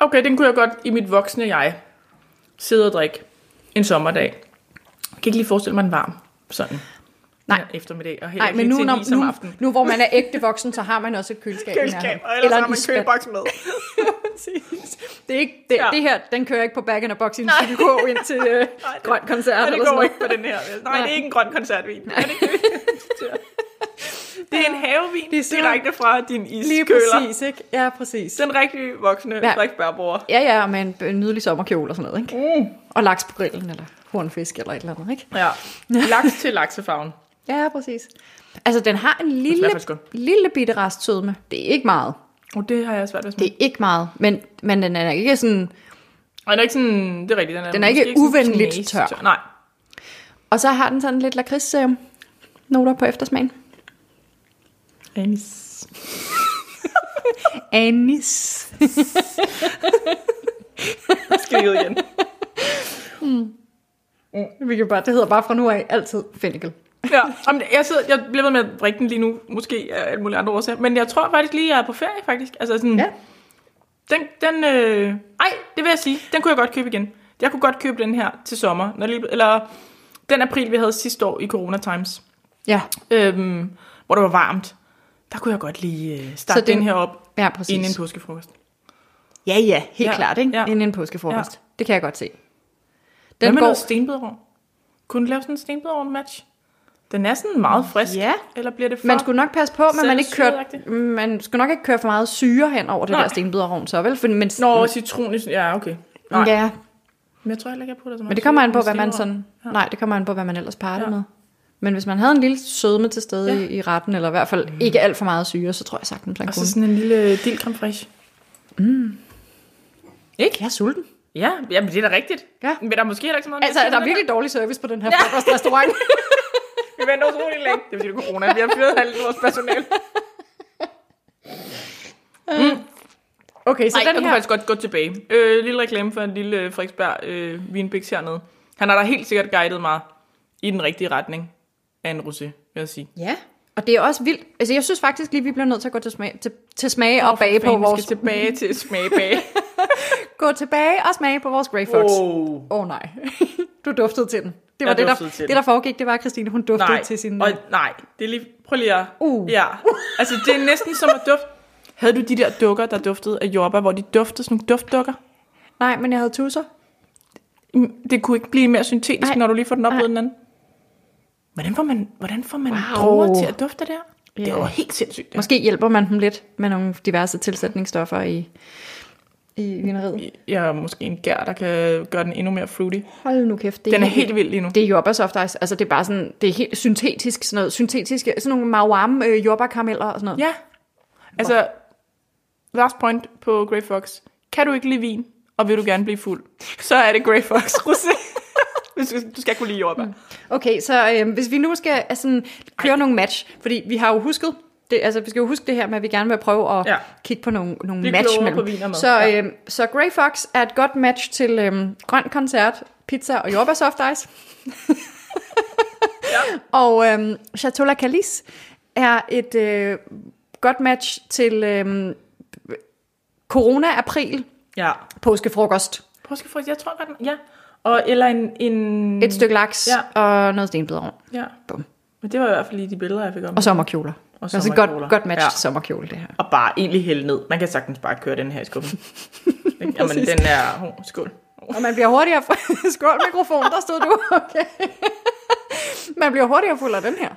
Speaker 1: Okay, den kunne jeg godt i mit voksne jeg sidde og drikke en sommerdag. Jeg kan ikke lige forestille mig en varm sådan
Speaker 2: Nej.
Speaker 1: en eftermiddag. Og heller
Speaker 2: Nej,
Speaker 1: ikke
Speaker 2: men
Speaker 1: lige
Speaker 2: nu,
Speaker 1: til en
Speaker 2: når,
Speaker 1: is om
Speaker 2: nu,
Speaker 1: aftenen.
Speaker 2: nu hvor man er ægte voksen, så har man også et køleskab. i nærheden.
Speaker 1: Køleskab, og ellers
Speaker 2: Eller
Speaker 1: har
Speaker 2: en
Speaker 1: man
Speaker 2: isspand.
Speaker 1: køleboks med.
Speaker 2: Det er ikke det, ja.
Speaker 1: Ja.
Speaker 2: det her, den kører ikke på back in a box, inden skal gå ind til øh,
Speaker 1: det-
Speaker 2: grøn koncert
Speaker 1: Nej,
Speaker 2: eller
Speaker 1: det går
Speaker 2: sådan noget.
Speaker 1: ikke på den her. Nej,
Speaker 2: Nej.
Speaker 1: det er ikke en grøn koncertvin. Det er, det ikke. det er en havevin
Speaker 2: Det er
Speaker 1: det er
Speaker 2: simpelthen-
Speaker 1: direkte fra din
Speaker 2: Lige
Speaker 1: iskøler.
Speaker 2: præcis, ikke? Ja, præcis.
Speaker 1: Den rigtige voksne
Speaker 2: Ja.
Speaker 1: ja. drikbærbruger.
Speaker 2: Ja, ja, og med en, en nydelig sommerkjole og sådan noget, ikke? Mm. Og laks på grillen, eller hornfisk, eller et eller andet, ikke?
Speaker 1: Ja. Laks til laksefarven.
Speaker 2: Ja, præcis. Altså, den har en lille,
Speaker 1: faktisk godt.
Speaker 2: lille bitte rest sødme. Det er ikke meget.
Speaker 1: Og det har jeg svært ved at
Speaker 2: Det
Speaker 1: smage.
Speaker 2: er ikke meget, men, men den er ikke sådan...
Speaker 1: Og den er ikke sådan, det er rigtigt. Den er,
Speaker 2: Den er ikke
Speaker 1: måske sådan
Speaker 2: uvenligt
Speaker 1: knastør.
Speaker 2: tør.
Speaker 1: Nej.
Speaker 2: Og så har den sådan lidt lakrids øh, noter på eftersmagen.
Speaker 1: Anis.
Speaker 2: Anis.
Speaker 1: Skal vi ud igen.
Speaker 2: Vi kan bare, det hedder bare fra nu af altid fennikel.
Speaker 1: Ja. Jamen, jeg, sidder, jeg bliver ved med at drikke den lige nu, måske af alle mulige andre årsager. Men jeg tror faktisk lige, jeg er på ferie, faktisk. Altså sådan,
Speaker 2: Ja.
Speaker 1: Den, den øh... Ej, det vil jeg sige. Den kunne jeg godt købe igen. Jeg kunne godt købe den her til sommer. Når lige, eller den april, vi havde sidste år i Corona Times.
Speaker 2: Ja,
Speaker 1: Øhm, hvor det var varmt. Der kunne jeg godt lige øh, starte
Speaker 2: Så det-
Speaker 1: den her op
Speaker 2: ja præcis.
Speaker 1: inden en påskefrokost.
Speaker 2: Ja, ja, helt ja,
Speaker 1: Ja,
Speaker 2: klart, ikke? Ja.
Speaker 1: ja.
Speaker 2: Inden en påskefrokost. Ja. Det kan jeg godt se.
Speaker 1: Den Hvad
Speaker 2: Den
Speaker 1: med
Speaker 2: går...
Speaker 1: noget stenbidrov? Kunne du lave sådan en stenbidrov match? Den er sådan meget frisk.
Speaker 2: Ja.
Speaker 1: Eller bliver det for...
Speaker 2: Man skulle nok passe på, men man, ikke
Speaker 1: Selvsyreagtigt.
Speaker 2: kørte, man skulle nok ikke køre for meget syre hen over det
Speaker 1: Nej.
Speaker 2: der stenbiderovn så, vel? For, men,
Speaker 1: Nå, citronisk. Ja, okay. Nej, ja.
Speaker 2: ja,
Speaker 1: men jeg tror heller ikke, jeg putter så meget.
Speaker 2: men det kommer an på,
Speaker 1: syre i
Speaker 2: hvad man
Speaker 1: stenrøret.
Speaker 2: sådan...
Speaker 1: Ja.
Speaker 2: Nej, det kommer an på, hvad man ellers parer
Speaker 1: Ja.
Speaker 2: det med. Men hvis man havde en lille sødme til stede
Speaker 1: Ja.
Speaker 2: ja. i, i retten, eller i hvert fald ikke alt for meget syre, så tror jeg sagtens, man
Speaker 1: Og
Speaker 2: kunne.
Speaker 1: så sådan en lille dild creme fraiche.
Speaker 2: ikke? Jeg er sulten.
Speaker 1: Ja, jamen det er da rigtigt.
Speaker 2: Ja.
Speaker 1: Men der er måske heller ikke så meget...
Speaker 2: Altså,
Speaker 1: mere
Speaker 2: er
Speaker 1: til
Speaker 2: der
Speaker 1: den
Speaker 2: virkelig dårlig service på den her frokostrestaurant?
Speaker 1: Vi venter utrolig længe. Det er fordi, det er corona. Vi har fyret alt vores personale.
Speaker 2: okay, så
Speaker 1: Så Ej, den
Speaker 2: Mm. den
Speaker 1: kunne
Speaker 2: her...
Speaker 1: faktisk godt gå tilbage. Øh, lille reklame for en lille øh, Frederiksberg øh, vinbiks hernede. Han har da helt sikkert guidet mig i den rigtige retning af en rosé, vil jeg sige.
Speaker 2: Ja, og det er også vildt. Altså, jeg synes faktisk lige, vi bliver nødt til at gå til smag, til, til smage og bage på
Speaker 1: Fanden, vi
Speaker 2: vores...
Speaker 1: skal tilbage til smage bag.
Speaker 2: Gå tilbage og smage på vores Grey Fox. Åh oh.
Speaker 1: oh,
Speaker 2: oh, nej, du duftede til den. Det var
Speaker 1: Jeg
Speaker 2: det der,
Speaker 1: duftede til
Speaker 2: det,
Speaker 1: den.
Speaker 2: der foregik, det var, at Christine, hun duftede
Speaker 1: nej.
Speaker 2: til sin... øh,
Speaker 1: Og, nej, det er lige... Prøv lige at...
Speaker 2: Uh.
Speaker 1: Ja. Altså, det er næsten som at dufte... Havde du de der dukker, der duftede af jordbær, hvor de duftede sådan nogle duftdukker?
Speaker 2: Nej, men jeg havde tusser.
Speaker 1: Mm, Det kunne ikke blive mere syntetisk,
Speaker 2: Nej.
Speaker 1: når du lige får den op
Speaker 2: Nej.
Speaker 1: ved den anden. Hvordan får man, hvordan får man wow.
Speaker 2: Wow.
Speaker 1: droger til at dufte der? Yeah. Det
Speaker 2: Ja.
Speaker 1: er jo helt sindssygt. Ja.
Speaker 2: Måske hjælper man dem lidt med nogle diverse tilsætningsstoffer i, i vineriet.
Speaker 1: Jeg er måske en gær, der kan gøre den endnu mere fruity.
Speaker 2: Hold nu kæft. Det
Speaker 1: Den er helt vild lige nu.
Speaker 2: Det er jordbær soft ice. Altså, det er bare sådan, det er helt syntetisk, sådan noget, syntetiske, sådan nogle mauam øh, jordbærkarameller og sådan noget.
Speaker 1: Ja. Altså, last point på Grey Fox. Kan du ikke lide vin, og vil du gerne blive fuld, så er det Grey Fox rosé. Hvis du- du skal kunne lide
Speaker 2: Mm.
Speaker 1: jordbær.
Speaker 2: Okay, så øh, hvis vi nu skal altså, køre nogle match, fordi vi har jo husket, det, altså vi skal jo huske det her med, at vi gerne vil prøve at
Speaker 1: Ja.
Speaker 2: ja. kigge på nogle, nogle
Speaker 1: Blive
Speaker 2: match
Speaker 1: klogere
Speaker 2: mellem.
Speaker 1: på vin og mad.
Speaker 2: Så,
Speaker 1: Ja.
Speaker 2: øh, så Grey Fox er et godt match til øh, grøn koncert, pizza og jordbær soft ice. Og øh, Chateau La Calice er et øh, godt match til øh, corona-april
Speaker 1: Ja.
Speaker 2: påskefrokost.
Speaker 1: Påskefrugt, jeg tror godt, den- ja. Og, eller en, en...
Speaker 2: Mm. Et stykke laks
Speaker 1: Ja.
Speaker 2: ja. og noget stenbiderovn.
Speaker 1: Ja.
Speaker 2: Bum.
Speaker 1: Men det var i hvert fald lige de billeder, jeg fik om.
Speaker 2: Og sommerkjoler.
Speaker 1: Og
Speaker 2: Altså et
Speaker 1: sommerkjoler.
Speaker 2: godt, godt match
Speaker 1: Ja.
Speaker 2: ja. til sommerkjole, det her.
Speaker 1: Og bare egentlig hælde ned. Man kan sagtens bare køre den her i skuffen. Ikke? Jamen,
Speaker 2: Præcis.
Speaker 1: den er... Oh, skål.
Speaker 2: Og man bliver hurtigere... fu- Skål mikrofon, der stod du. Okay. man bliver hurtigere fuld af den her.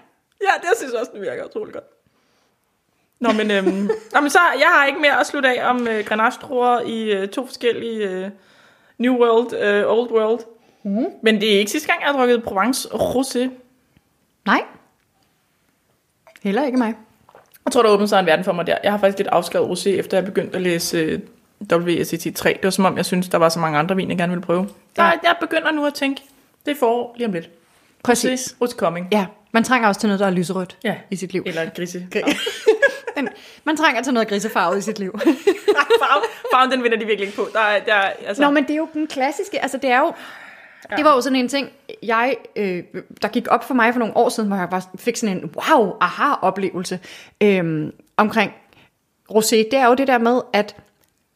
Speaker 1: Ja, det synes jeg også, den virker utrolig godt. Nå, men, øhm, nå, men så, jeg har ikke mere at slutte af om øh, granachestruer i øh, to forskellige øh, New World, øh, Old World. Mm. Men det er ikke sidste gang, jeg har drukket Provence Rosé.
Speaker 2: Nej. Heller ikke mig.
Speaker 1: Jeg tror, der åbnede sig en verden for mig der. Jeg har faktisk lidt afskrevet rosé, efter jeg begyndte at læse øh, WSET 3. Det var som om, jeg synes der var så mange andre vin, jeg gerne ville prøve. Der,
Speaker 2: Ja.
Speaker 1: Jeg begynder nu at tænke, det er forår lige om lidt.
Speaker 2: Præcis.
Speaker 1: Rosé, what's coming?
Speaker 2: Ja, man trænger også til noget, der er lyserødt
Speaker 1: Ja.
Speaker 2: i sit liv.
Speaker 1: Eller grise.
Speaker 2: Men man trænger til noget grisefarvet i sit liv.
Speaker 1: Farven, farven, den vinder de virkelig ikke på. Der, er- der, er- altså,
Speaker 2: Nå, men det er jo den klassiske, altså det er jo... Ja. Det var jo sådan en ting, jeg, øh, der gik op for mig for nogle år siden, hvor jeg bare fik sådan en wow, aha oplevelse øh, omkring rosé. Det er jo det der med, at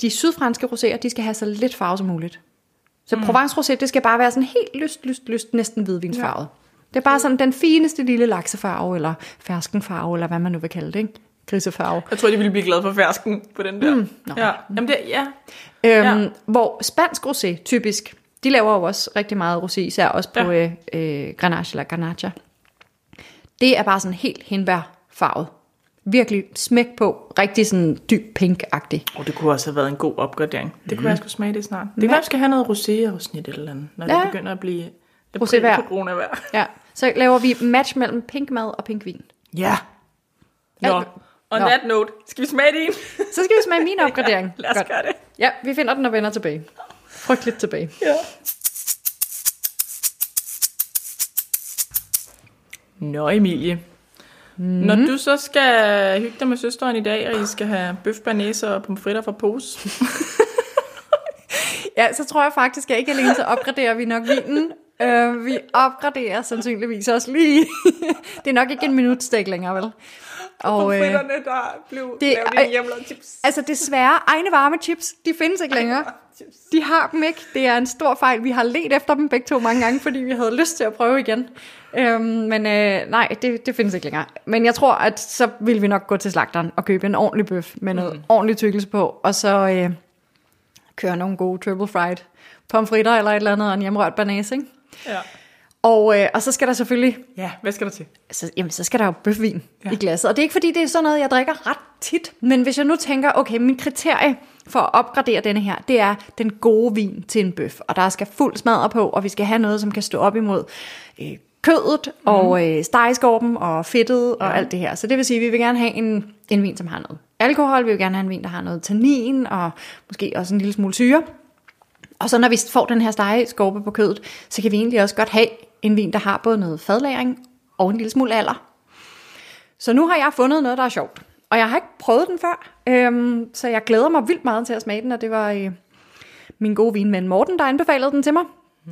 Speaker 2: de sydfranske roséer, de skal have så lidt farve som muligt. Så mm. Provence rosé, det skal bare være sådan helt lyst, lyst, lyst, næsten hvidvinsfarvet. Ja. Det er bare sådan den fineste lille laksefarve, eller ferskenfarve, eller hvad man nu vil kalde det, ikke? Grisefarve.
Speaker 1: Jeg tror, de ville blive glade for fersken på den der. Mm, ja. Jamen det, ja.
Speaker 2: Øhm,
Speaker 1: Ja.
Speaker 2: ja. Hvor spansk rosé, typisk, de laver jo også rigtig meget rosé, især også på
Speaker 1: Ja.
Speaker 2: ja. øh, øh, Grenache eller Garnacha. Det er bare sådan helt hindbærfarvet. Virkelig smæk på, rigtig sådan dyb pink-agtig.
Speaker 1: Oh, det kunne også have været en god opgradering. Det kunne mm. jeg skulle smage det snart. Det kan være, jeg skal have noget rosé og snit eller andet, når ja.
Speaker 2: Ja.
Speaker 1: det begynder at blive
Speaker 2: Rosévejr.
Speaker 1: corona vejr.
Speaker 2: Ja. Så laver vi match mellem pink mad og pink vin.
Speaker 1: Ja. Nå,
Speaker 2: Alt-
Speaker 1: on
Speaker 2: Nå.
Speaker 1: that note, skal vi smage din?
Speaker 2: Så skal vi smage min opgradering.
Speaker 1: Lad os
Speaker 2: Godt.
Speaker 1: gøre det.
Speaker 2: Ja, vi finder den og vender tilbage. Frygteligt tilbage.
Speaker 1: Ja. Nå, Emilie. Mm.
Speaker 2: Mhm.
Speaker 1: Når du så skal hygge dig med søsteren i dag, og I skal have bøf banæser og pomfritter fra pose.
Speaker 2: Ja, så tror jeg faktisk, at ikke alene så opgraderer vi nok vinen. Øh, vi opgraderer sandsynligvis også lige. det er nok ikke en minutstik længere, vel? Og, øh,
Speaker 1: der blev
Speaker 2: det- lavet i ej.
Speaker 1: hjemlade chips.
Speaker 2: altså desværre, egne varme chips, de findes ikke længere. De har dem ikke. Det er en stor fejl. Vi har let efter dem begge to mange gange, fordi vi havde lyst til at prøve igen. Øhm, men øh, nej, det, det findes ikke længere. Men jeg tror, at så vil vi nok gå til slagteren og købe en ordentlig bøf med noget mm. ordentlig tykkelse på, og så øh, køre nogle gode triple fried pomfritter eller et eller andet, og en hjemrørt banase, ikke?
Speaker 1: Ja.
Speaker 2: Og, øh, og så skal der selvfølgelig,
Speaker 1: Ja, hvad skal der til?
Speaker 2: så, jamen, så skal der jo bøfvin ja.
Speaker 1: Ja.
Speaker 2: i glasset. Og det er ikke fordi, det er sådan noget, jeg drikker ret tit. Men hvis jeg nu tænker, okay, min kriterie for at opgradere denne her, det er den gode vin til en bøf. Og der skal fuld smadre på, og vi skal have noget, som kan stå op imod øh, kødet mm. og øh, stegeskorpen og fedtet og alt det her. Så det vil sige, at vi vil gerne have en, en vin, som har noget alkohol. Vi vil gerne have en vin, der har noget tannin og måske også en lille smule syre. Og så når vi får den her stegeskorpe på kødet, så kan vi egentlig også godt have en vin, der har både noget fadlæring og en lille smule alder. Så nu har jeg fundet noget, der er sjovt. Og jeg har ikke prøvet den før, øhm, så jeg glæder mig vildt meget til at smage den, og det var øh, min gode vinven Morten, der anbefalede den til mig.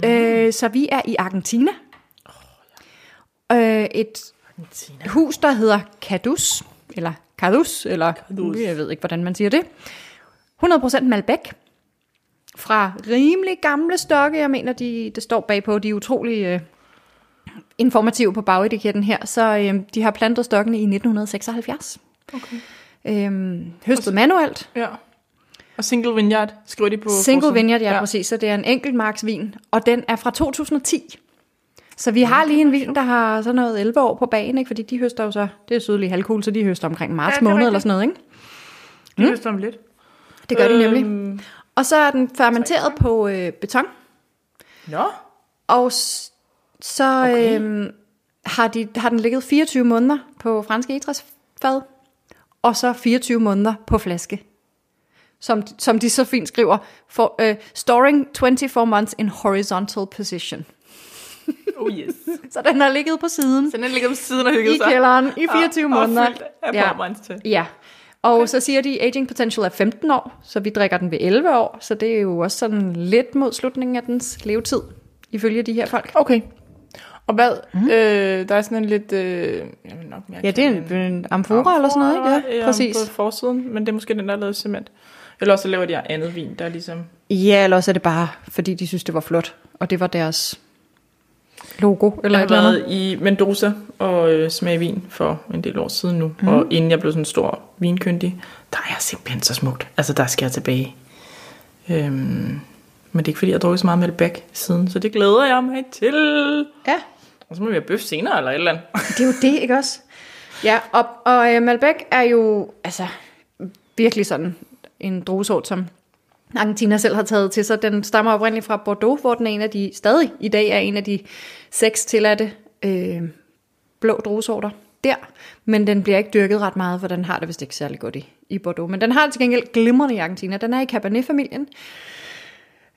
Speaker 2: Mm. Øh, så vi er i Argentina. Oh, ja. øh, et
Speaker 1: Argentina.
Speaker 2: et hus, der hedder Cadus, eller Cadus, eller
Speaker 1: Cadus.
Speaker 2: jeg ved ikke, hvordan man siger det. 100% Malbec fra rimelig gamle stokke. Jeg mener, de, det står bagpå, de er utrolig øh, informative på bagetiketten her. Så øh, de har plantet stokkene i 1976.
Speaker 1: Okay.
Speaker 2: Øh, høstet manuelt.
Speaker 1: Ja. Og single vineyard, skriver de på
Speaker 2: Single
Speaker 1: forsiden.
Speaker 2: vineyard, ja, ja præcis, så det er en enkelt marksvin, og den er fra 2010. Så vi har lige en vin, der har sådan noget 11 år på bagen, ikke? fordi de høster jo så, det er sydlig halvkugle, så de høster omkring marts
Speaker 1: Ja, det
Speaker 2: ja,
Speaker 1: er
Speaker 2: måned
Speaker 1: rigtigt.
Speaker 2: eller sådan noget, ikke?
Speaker 1: Det høster om lidt.
Speaker 2: Mm. Det gør øh, de nemlig.
Speaker 1: Øhm,
Speaker 2: Og så er den fermenteret på øh, beton,
Speaker 1: Nå,
Speaker 2: og s- så okay.
Speaker 1: Okay.
Speaker 2: øh, har, de, har den ligget 24 måneder på franske etræsfad, og så 24 måneder på flaske. Som, som de så fint skriver, for, øh, storing 24 months in horizontal position.
Speaker 1: oh yes.
Speaker 2: Så den har ligget på siden
Speaker 1: Så den ligger på siden og hygget
Speaker 2: i
Speaker 1: sig.
Speaker 2: kælderen i 24 måneder.
Speaker 1: Og fyldt af
Speaker 2: Ja.
Speaker 1: ja. til.
Speaker 2: Ja. Og okay. så siger de, aging potential er 15 år, så vi drikker den ved 11 år, så det er jo også sådan lidt mod slutningen af dens levetid, ifølge de her folk.
Speaker 1: Okay. Og hvad? Mm. Øh, der er sådan en lidt... Øh, jamen nok mere
Speaker 2: Ja, det er
Speaker 1: kaldt
Speaker 2: en, en amfora eller sådan noget, ikke? Ja, præcis.
Speaker 1: På forsiden, men det er måske den, der er lavet i cement. Eller også så laver de andet vin, der er ligesom...
Speaker 2: Ja, eller også er det bare, fordi de synes, det var flot, og det var deres logo eller
Speaker 1: Jeg
Speaker 2: et
Speaker 1: har
Speaker 2: eller andet.
Speaker 1: været i Mendoza og øh, smage vin for en del år siden nu. Mm. Og inden jeg blev sådan stor vinkyndig, der er simpelthen så smukt. Altså, der skal jeg tilbage. Øhm, men det er ikke, fordi jeg har drukket så meget Malbec siden, så det glæder jeg mig til.
Speaker 2: Ja,
Speaker 1: Og så må vi have bøf senere eller et eller andet.
Speaker 2: det er jo det, ikke også? Ja, og, og øh, Malbec er jo altså virkelig sådan en druesort, som Argentina selv har taget til sig. Den stammer oprindeligt fra Bordeaux, hvor den er en af de, stadig i dag er en af de seks tilladte øh, blå druesorter der. Men den bliver ikke dyrket ret meget, for den har det vist ikke særlig godt i, i Bordeaux. Men den har til gengæld glimrende i Argentina. Den er i Cabernet-familien.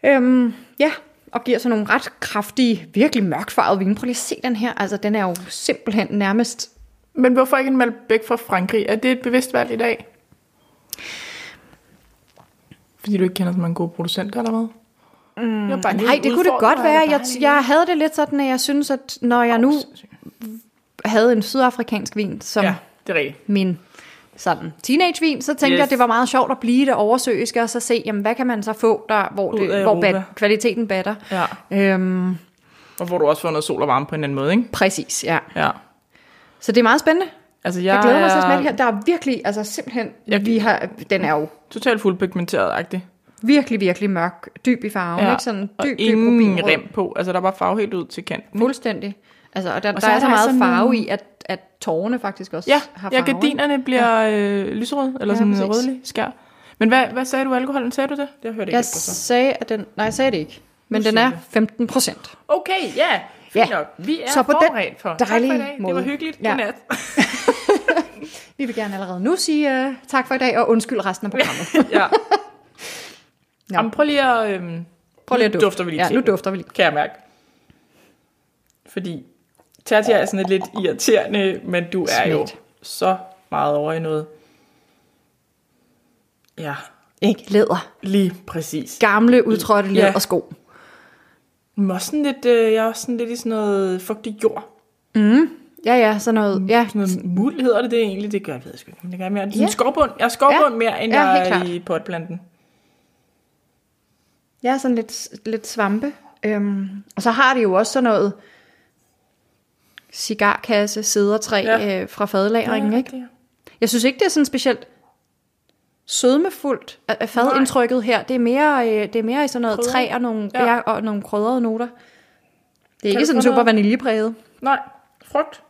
Speaker 2: Øhm, ja, og giver sådan nogle ret kraftige, virkelig mørkfarvede vine. Prøv lige at se den her. Altså, den er jo simpelthen nærmest...
Speaker 1: Men hvorfor ikke en Malbec fra Frankrig? Er det et bevidst valg i dag? Fordi du ikke kender så mange gode producenter eller hvad? Mm, jeg bare lige
Speaker 2: Nej, det kunne det
Speaker 1: udfordrer
Speaker 2: godt
Speaker 1: dig,
Speaker 2: være.
Speaker 1: eller
Speaker 2: Jeg,
Speaker 1: bare lige-
Speaker 2: jeg havde det lidt sådan, at jeg synes, at når jeg nu havde en sydafrikansk vin, som ja.
Speaker 1: Ja, det er rigtigt.
Speaker 2: min sådan teenagevin, så tænkte yes.
Speaker 1: Yes.
Speaker 2: jeg, det var meget sjovt at blive det oversøiske, og så se, jamen, hvad kan man så få, der, hvor,
Speaker 1: Ud af
Speaker 2: det, hvor bat,
Speaker 1: Europa.
Speaker 2: kvaliteten batter.
Speaker 1: Ja.
Speaker 2: Øhm,
Speaker 1: Og hvor du også får noget sol og varme på en anden måde, ikke?
Speaker 2: præcis, ja.
Speaker 1: Ja.
Speaker 2: Så det er meget spændende.
Speaker 1: Altså, jeg,
Speaker 2: Jeg glæder mig til at smage
Speaker 1: er
Speaker 2: det her. Der er virkelig, altså simpelthen,
Speaker 1: Jeg-
Speaker 2: vi har, den er jo
Speaker 1: totalt fuldpigmenteret-agtig.
Speaker 2: virkelig, virkelig mørk, dyb i farven, ja. ikke? Sådan
Speaker 1: og
Speaker 2: dyb, dyb
Speaker 1: ingen
Speaker 2: rubinrød.
Speaker 1: rem på. Altså, der er bare farve helt ud til kanten.
Speaker 2: Fuldstændig. Altså, og der, og
Speaker 1: så
Speaker 2: der er
Speaker 1: er
Speaker 2: så
Speaker 1: der
Speaker 2: meget
Speaker 1: sådan
Speaker 2: farve
Speaker 1: nogle-
Speaker 2: i, at, at tårerne faktisk også
Speaker 1: Ja,
Speaker 2: har farve.
Speaker 1: ja
Speaker 2: ikke?
Speaker 1: gardinerne bliver ja. Øh, lyserøde, eller
Speaker 2: Ja,
Speaker 1: ja, sådan
Speaker 2: præcis.
Speaker 1: en rødlig skær. Men hvad, hvad sagde du alkoholen? Sagde du det? Det hørte jeg ikke
Speaker 2: Jeg
Speaker 1: efter så.
Speaker 2: sagde, at den... Nej, jeg sagde det ikke. Men den er 15 procent.
Speaker 1: Okay, ja. Fint
Speaker 2: Ja.
Speaker 1: nok. Vi er
Speaker 2: Så på den
Speaker 1: forberedt for. Tak for i
Speaker 2: dejlige
Speaker 1: dag.
Speaker 2: måde.
Speaker 1: Det var hyggeligt.
Speaker 2: Ja.
Speaker 1: Ja. Godnat.
Speaker 2: Vi vil gerne allerede nu sige uh, tak for i dag, og undskyld resten af programmet.
Speaker 1: ja.
Speaker 2: Nå.
Speaker 1: Jamen, prøv lige at... Øhm,
Speaker 2: Prøv lige
Speaker 1: nu
Speaker 2: at dufte.
Speaker 1: dufter vi lige
Speaker 2: ja,
Speaker 1: til
Speaker 2: nu
Speaker 1: den,
Speaker 2: dufter vi lige.
Speaker 1: Kan jeg mærke. Fordi Tatja er sådan et lidt irriterende, men du er jo
Speaker 2: Smagt.
Speaker 1: så meget over i noget. Ja,
Speaker 2: Ikke læder.
Speaker 1: lige præcis.
Speaker 2: Gamle, udtrådte
Speaker 1: Ja.
Speaker 2: læder og sko.
Speaker 1: Men også sådan lidt, øh, jeg er også sådan lidt i sådan noget fugtig jord.
Speaker 2: Ja, ja, sådan noget. Ja,
Speaker 1: Sådan noget muld hedder det, det er egentlig. Det gør jeg, ved jeg sgu ikke. Men det gør jeg mere. Det er
Speaker 2: Ja.
Speaker 1: sådan skovbund. Jeg er skovbund
Speaker 2: Ja.
Speaker 1: mere, end
Speaker 2: Ja, helt
Speaker 1: jeg er
Speaker 2: klart.
Speaker 1: i potplanten.
Speaker 2: ja sådan lidt, lidt svampe. Øhm, og så har de jo også sådan noget cigarkasse, sædertræ ja.
Speaker 1: Ja.
Speaker 2: øh, fra fadlagringen, ja, ikke? Jeg synes ikke, det er sådan specielt sødmefuldt af af fadindtrykket her. Det er mere, øh, det er mere i sådan noget
Speaker 1: Krydder.
Speaker 2: træ og nogle, ja.
Speaker 1: Ja.
Speaker 2: Ja, og nogle krydrede noter. Det er ikke
Speaker 1: du
Speaker 2: sådan
Speaker 1: få noget?
Speaker 2: super vaniljepræget.
Speaker 1: Nej, frugt.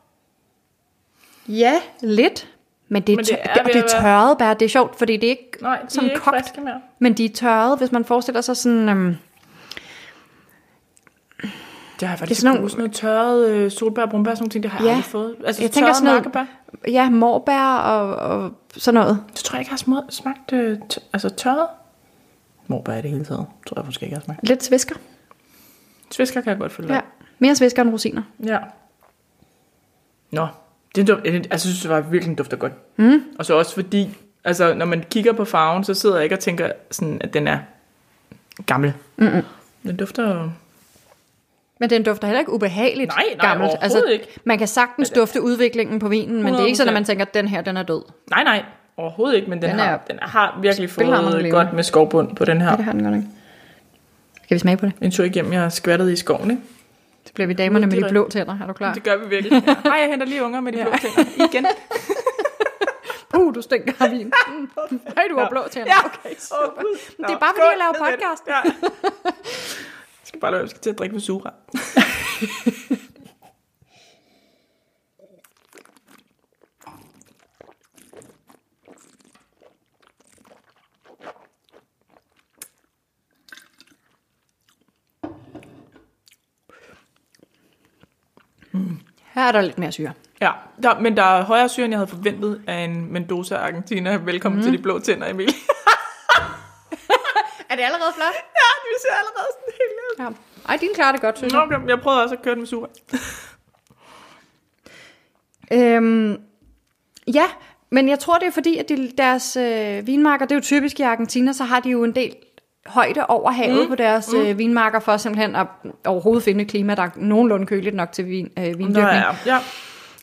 Speaker 2: Ja, lidt. Men det er,
Speaker 1: Men det
Speaker 2: tør-
Speaker 1: er
Speaker 2: det er,
Speaker 1: ved
Speaker 2: det er
Speaker 1: at være-
Speaker 2: tørrede bær. Det er sjovt, fordi det er ikke
Speaker 1: Nej, de
Speaker 2: sådan
Speaker 1: er ikke
Speaker 2: kogt.
Speaker 1: friske mere.
Speaker 2: Men de er tørrede, hvis man forestiller sig sådan... Øhm,
Speaker 1: Det har jeg faktisk
Speaker 2: sådan
Speaker 1: sådan
Speaker 2: nogle-
Speaker 1: nogle... Sådan noget tørret øh, solbær og brumbær, sådan nogle ting, det har jeg
Speaker 2: Ja.
Speaker 1: aldrig fået. Altså,
Speaker 2: Jeg
Speaker 1: jeg
Speaker 2: tænker
Speaker 1: tænker
Speaker 2: sådan noget-
Speaker 1: markebær.
Speaker 2: ja, morbær og, og sådan noget.
Speaker 1: Det tror jeg ikke har smagt, smagt øh, t- altså tørret. Morbær i det hele taget, tror jeg måske ikke jeg har smagt.
Speaker 2: Lidt svisker.
Speaker 1: Svisker kan jeg godt følge
Speaker 2: Ja. Mere svisker end rosiner.
Speaker 1: ja. Nå, det, duf- jeg- jeg synes, det var virkelig den dufter godt. Mm. Og så også fordi, altså når man kigger på farven, så sidder jeg ikke og tænker sådan, at den er gammel. Mm-mm. Den dufter jo...
Speaker 2: Men den dufter heller ikke ubehageligt
Speaker 1: Nej, nej,
Speaker 2: gammelt. Altså,
Speaker 1: overhovedet ikke.
Speaker 2: Man kan sagtens dufte udviklingen på vinen, men det er ikke sådan, at man tænker, at den her den er død.
Speaker 1: Nej, nej, overhovedet ikke, men den,
Speaker 2: Den
Speaker 1: den,
Speaker 2: er-
Speaker 1: har, den har virkelig
Speaker 2: Spilhammerende
Speaker 1: fået
Speaker 2: levende.
Speaker 1: godt med skovbund på den her.
Speaker 2: Ja, det har den godt nok. Skal vi smage på det?
Speaker 1: En tur igennem, jeg har skvattet i skoven, ikke?
Speaker 2: Så bliver vi damerne med de
Speaker 1: direkte.
Speaker 2: blå tænder. Er du klar?
Speaker 1: Det gør vi virkelig. Ja. Ej, jeg henter lige unger med de blå tænder. Igen.
Speaker 2: Uh, du stinker af vin. Mm. Hey, du har blå tænder. Ja.
Speaker 1: okay, super. Oh,
Speaker 2: Men det er bare, fordi jeg laver podcast.
Speaker 1: Ja. Jeg skal bare lade, jeg skal til at drikke med sura.
Speaker 2: Her er der lidt mere syre.
Speaker 1: Ja, der, men der er højere syre, end jeg havde forventet af en Mendoza Argentina. Velkommen mm. til de blå tænder, Emil.
Speaker 2: Er det allerede flot?
Speaker 1: ja, du ser allerede sådan helt lidt.
Speaker 2: Ja. Ej, din klarer det godt, synes jeg.
Speaker 1: Okay, jeg prøvede også at køre den med sura.
Speaker 2: Øhm, ja, men jeg tror, det er fordi, at de, deres øh, vinmarker, det er jo typisk i Argentina, så har de jo en del højde over havet mm. på deres mm. øh, vinmarker, for simpelthen at overhovedet finde et klima, der er nogenlunde køligt nok til vin, øh, vindyrkning.
Speaker 1: Nå, ja. ja.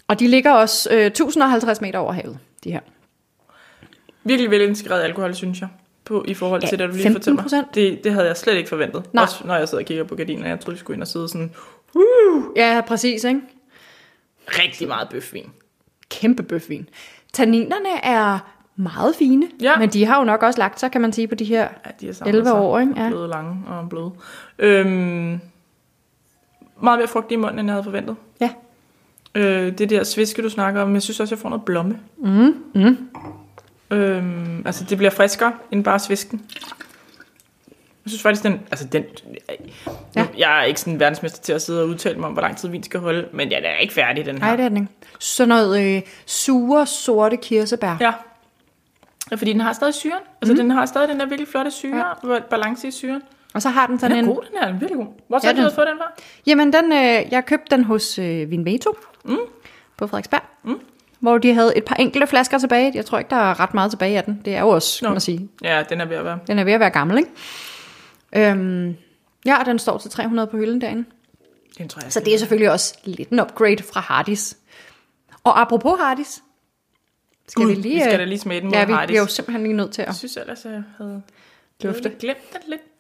Speaker 2: Og de ligger også øh, 1050 meter over havet, de her.
Speaker 1: Virkelig velintegreret alkohol, synes jeg. På, I forhold
Speaker 2: Ja,
Speaker 1: til, da du lige
Speaker 2: 15%.
Speaker 1: fortalte mig. Det, det havde jeg slet ikke forventet.
Speaker 2: Nej.
Speaker 1: Også når jeg sidder og kigger på gardinerne. Jeg troede, vi skulle ind og sidde sådan
Speaker 2: Ja, præcis, ikke?
Speaker 1: rigtig meget bøfvin.
Speaker 2: Kæmpe bøfvin. Tanninerne er meget fine,
Speaker 1: Ja.
Speaker 2: men de har jo nok også lagt sig, kan man sige, på de her
Speaker 1: Ja, de er altså samlet
Speaker 2: 11
Speaker 1: sig.
Speaker 2: år, ikke? Ja.
Speaker 1: Bløde, lange og bløde. Øhm, meget mere frugt i munden, end jeg havde forventet.
Speaker 2: ja.
Speaker 1: Øh, det der sviske, du snakker om, jeg synes også, jeg får noget blomme. Mm. Mm. Øhm, altså, det bliver friskere end bare svisken. Jeg synes faktisk, den... Altså, den
Speaker 2: Ja.
Speaker 1: ja. Jeg er ikke sådan verdensmester til at sidde og udtale mig om, hvor lang tid vin skal holde, men jeg er ikke færdig, den her.
Speaker 2: Ej, det er den ikke. Sådan noget øh, sure, sorte kirsebær.
Speaker 1: Ja. Ja, Fordi den har stadig syren. Altså, mm. den har stadig den der virkelig flotte syre, ja. balance i syren.
Speaker 2: Og så har den sådan
Speaker 1: Den er
Speaker 2: en...
Speaker 1: god, den her. Den er virkelig god. Hvor
Speaker 2: Ja,
Speaker 1: så ja, du
Speaker 2: den-
Speaker 1: at få den var?
Speaker 2: Jamen, den, øh, jeg købte den hos øh, Vinveto mm. på Frederiksberg, mm. hvor de havde et par enkelte flasker tilbage. Jeg tror ikke, der er ret meget tilbage af den. Det er jo også, kan
Speaker 1: Nå.
Speaker 2: man sige.
Speaker 1: Ja, den er ved at være.
Speaker 2: Den er ved at være gammel, ikke? Øhm, ja, og den står til 300 på hylden derinde.
Speaker 1: Den tror jeg.
Speaker 2: Så det er selvfølgelig også lidt en upgrade fra Hardis. Og apropos Hardis, skal vi lige...
Speaker 1: Vi skal
Speaker 2: øh,
Speaker 1: da lige smage den mod
Speaker 2: Ja, vi
Speaker 1: Hardis.
Speaker 2: bliver jo simpelthen lige nødt til
Speaker 1: Jeg
Speaker 2: at...
Speaker 1: synes ellers, jeg havde
Speaker 2: Dufte.
Speaker 1: havde glemt den lidt.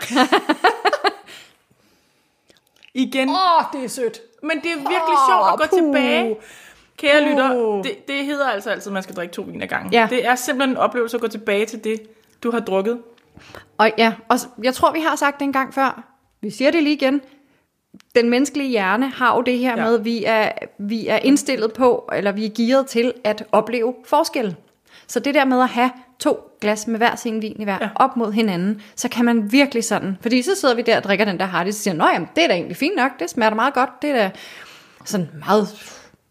Speaker 1: Igen.
Speaker 2: Åh, oh, det er sødt.
Speaker 1: Men det er virkelig sjovt at gå
Speaker 2: puh.
Speaker 1: tilbage. Kære
Speaker 2: Puh.
Speaker 1: lytter, det, det hedder altså altid, at man skal drikke to vin ad gangen.
Speaker 2: Ja.
Speaker 1: Det er simpelthen en oplevelse at gå tilbage til det, du har drukket.
Speaker 2: Og ja, og s- jeg tror, vi har sagt det en gang før. Vi siger det lige igen. Den menneskelige hjerne har jo det her ja.
Speaker 1: Ja.
Speaker 2: med, at vi er, vi er indstillet på, eller vi er gearet til at opleve forskel. Så det der med at have to glas med hver sin vin i hver, ja.
Speaker 1: Ja.
Speaker 2: op mod hinanden, så kan man virkelig sådan. Fordi så sidder vi der og drikker den der hardis, og siger, nå jamen, det er da egentlig fint nok, det smager da meget godt, det er da sådan meget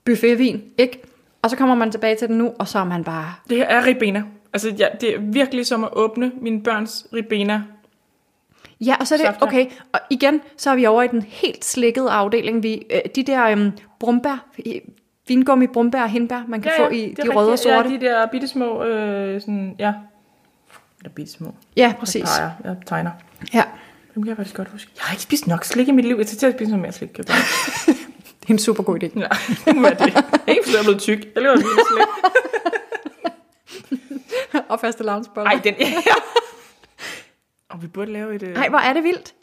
Speaker 2: buffetvin, ikke? Og så kommer man tilbage til den nu, og så er man bare,
Speaker 1: Det her er ribena. Altså, ja, det er virkelig som at åbne mine børns ribena.
Speaker 2: Ja, og så er det,
Speaker 1: Saftevand.
Speaker 2: okay, og igen, så er vi over i den helt slikkede afdeling. Vi, øh, de der øhm, brumbær, øh, vingummi, brumbær og hindbær, man kan ja, få i de
Speaker 1: det er
Speaker 2: røde og
Speaker 1: rigtigt.
Speaker 2: sorte. Ja,
Speaker 1: Ja, de der bittesmå, øh, sådan, ja. Eller bittesmå.
Speaker 2: ja præcis.
Speaker 1: Jeg, peger, jeg tegner.
Speaker 2: Ja.
Speaker 1: Dem kan jeg faktisk godt huske. Jeg har ikke spist nok slik i mit liv. Jeg skal til at spise noget mere slik. Kan jeg bare.
Speaker 2: Det er en super god idé.
Speaker 1: Nej, det må være det. Ikke fordi jeg er blevet tyk. Jeg lever vildt slik.
Speaker 2: og faste loungeboller.
Speaker 1: Ej, den er... Og vi burde lave et... øh,
Speaker 2: Nej, hvor er det vildt.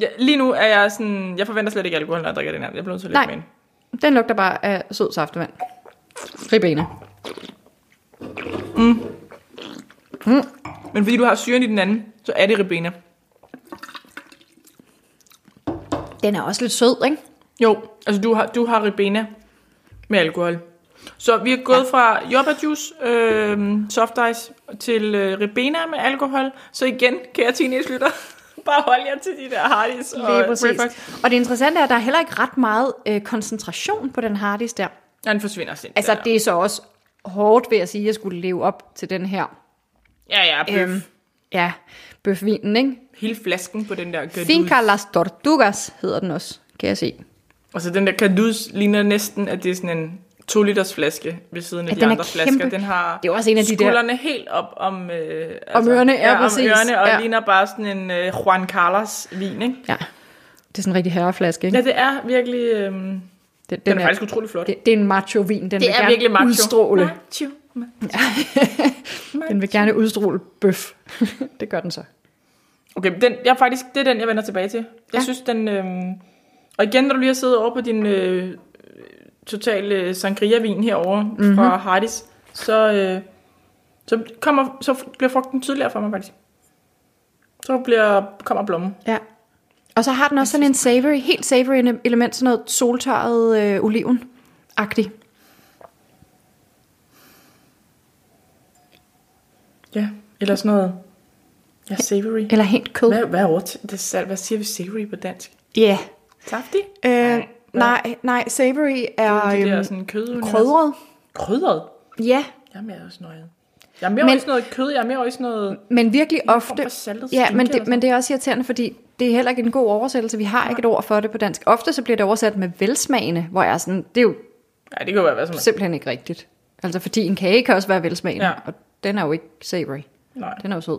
Speaker 1: Ja, lige nu er jeg sådan... Jeg forventer slet ikke alkohol, når jeg drikker den her. Jeg bliver nødt til at
Speaker 2: Nej.
Speaker 1: lægge mig ind.
Speaker 2: Den lugter bare af sød saftevand. Ribena.
Speaker 1: Men fordi du har syren i den anden, så er det ribena.
Speaker 2: Det Den er også lidt sød, ikke?
Speaker 1: Jo, altså du har, du har ribena med alkohol. Så vi er gået ja. fra jobba juice, øh, soft ice, til øh, ribena med alkohol. Så igen, kære teenage-lytter, bare hold jer til de der Hardys og
Speaker 2: Lige præcis.
Speaker 1: Reeboks.
Speaker 2: Og det interessante er, at der er heller ikke ret meget øh, koncentration på den Hardys der.
Speaker 1: Ja, den forsvinder sindssygt.
Speaker 2: Altså, det er så også hårdt ved at sige, at jeg skulle leve op til den her.
Speaker 1: Ja, ja, bøf.
Speaker 2: Øhm, ja, bøfvinen, ikke?
Speaker 1: Hele flasken på den der gadus.
Speaker 2: Finca Las Tortugas hedder den også, kan jeg se.
Speaker 1: Altså den der gadus ligner næsten, at det er sådan en 2 liters flaske ved siden af
Speaker 2: At
Speaker 1: de
Speaker 2: den er
Speaker 1: andre flasker.
Speaker 2: kæmpe.
Speaker 1: Den har
Speaker 2: Det er også en af de der-
Speaker 1: skuldrene helt op om, øh, altså,
Speaker 2: ørerne, ja,
Speaker 1: ja,
Speaker 2: præcis.
Speaker 1: om ørerne, og
Speaker 2: Ja.
Speaker 1: ja. ligner bare sådan en øh, Juan Carlos vin, ikke?
Speaker 2: Ja, det er sådan en rigtig herreflaske, ikke?
Speaker 1: Ja, det er virkelig... Øh, den,
Speaker 2: Den, den
Speaker 1: den er, faktisk utrolig flot.
Speaker 2: det, det er en macho-vin, den vil
Speaker 1: det er
Speaker 2: gerne
Speaker 1: virkelig macho.
Speaker 2: udstråle.
Speaker 1: Macho.
Speaker 2: Den vil gerne udstråle bøf. det gør den så.
Speaker 1: Okay, men den, jeg er faktisk, det er den, jeg vender tilbage til. Jeg
Speaker 2: Ja.
Speaker 1: ja. synes, den... Øh, og igen, når du lige har siddet over på din øh, totale sangria-vin herovre mm-hmm. fra Hardis, så, øh, så, kommer, så bliver frugten tydeligere for mig faktisk. Så bliver, kommer blommen.
Speaker 2: Ja. Og så har den også sådan en savory, helt savory ele- element, sådan noget soltørret øh, oliven-agtigt.
Speaker 1: Ja, eller sådan noget. Ja, savory.
Speaker 2: Eller helt kød.
Speaker 1: Hvad, hvad, er ordet? Det er, sal- hvad siger vi savory på dansk?
Speaker 2: Ja.
Speaker 1: Saftig?
Speaker 2: Yeah. Øh, nej, nej, savory er
Speaker 1: Det der
Speaker 2: øhm,
Speaker 1: sådan kød.
Speaker 2: krydret.
Speaker 1: Krydret?
Speaker 2: Ja,
Speaker 1: Jeg er mere også noget. Jeg er mere
Speaker 2: Men-
Speaker 1: Men... også noget kød, jeg er mere også noget...
Speaker 2: men virkelig
Speaker 1: form for
Speaker 2: ofte...
Speaker 1: saltet
Speaker 2: Ja,
Speaker 1: skinke
Speaker 2: men
Speaker 1: eller
Speaker 2: det, men det er også irriterende, fordi det er heller ikke en god oversættelse. Vi har ikke et ord for det på dansk. Ofte så bliver det oversat med velsmagende, hvor jeg er sådan, det er jo
Speaker 1: Ja, det kan jo være hvad som helst.
Speaker 2: simpelthen ikke rigtigt. Altså, fordi en kage kan også være velsmagende,
Speaker 1: Ja.
Speaker 2: og den er jo ikke savory.
Speaker 1: Nej.
Speaker 2: Den er jo sød.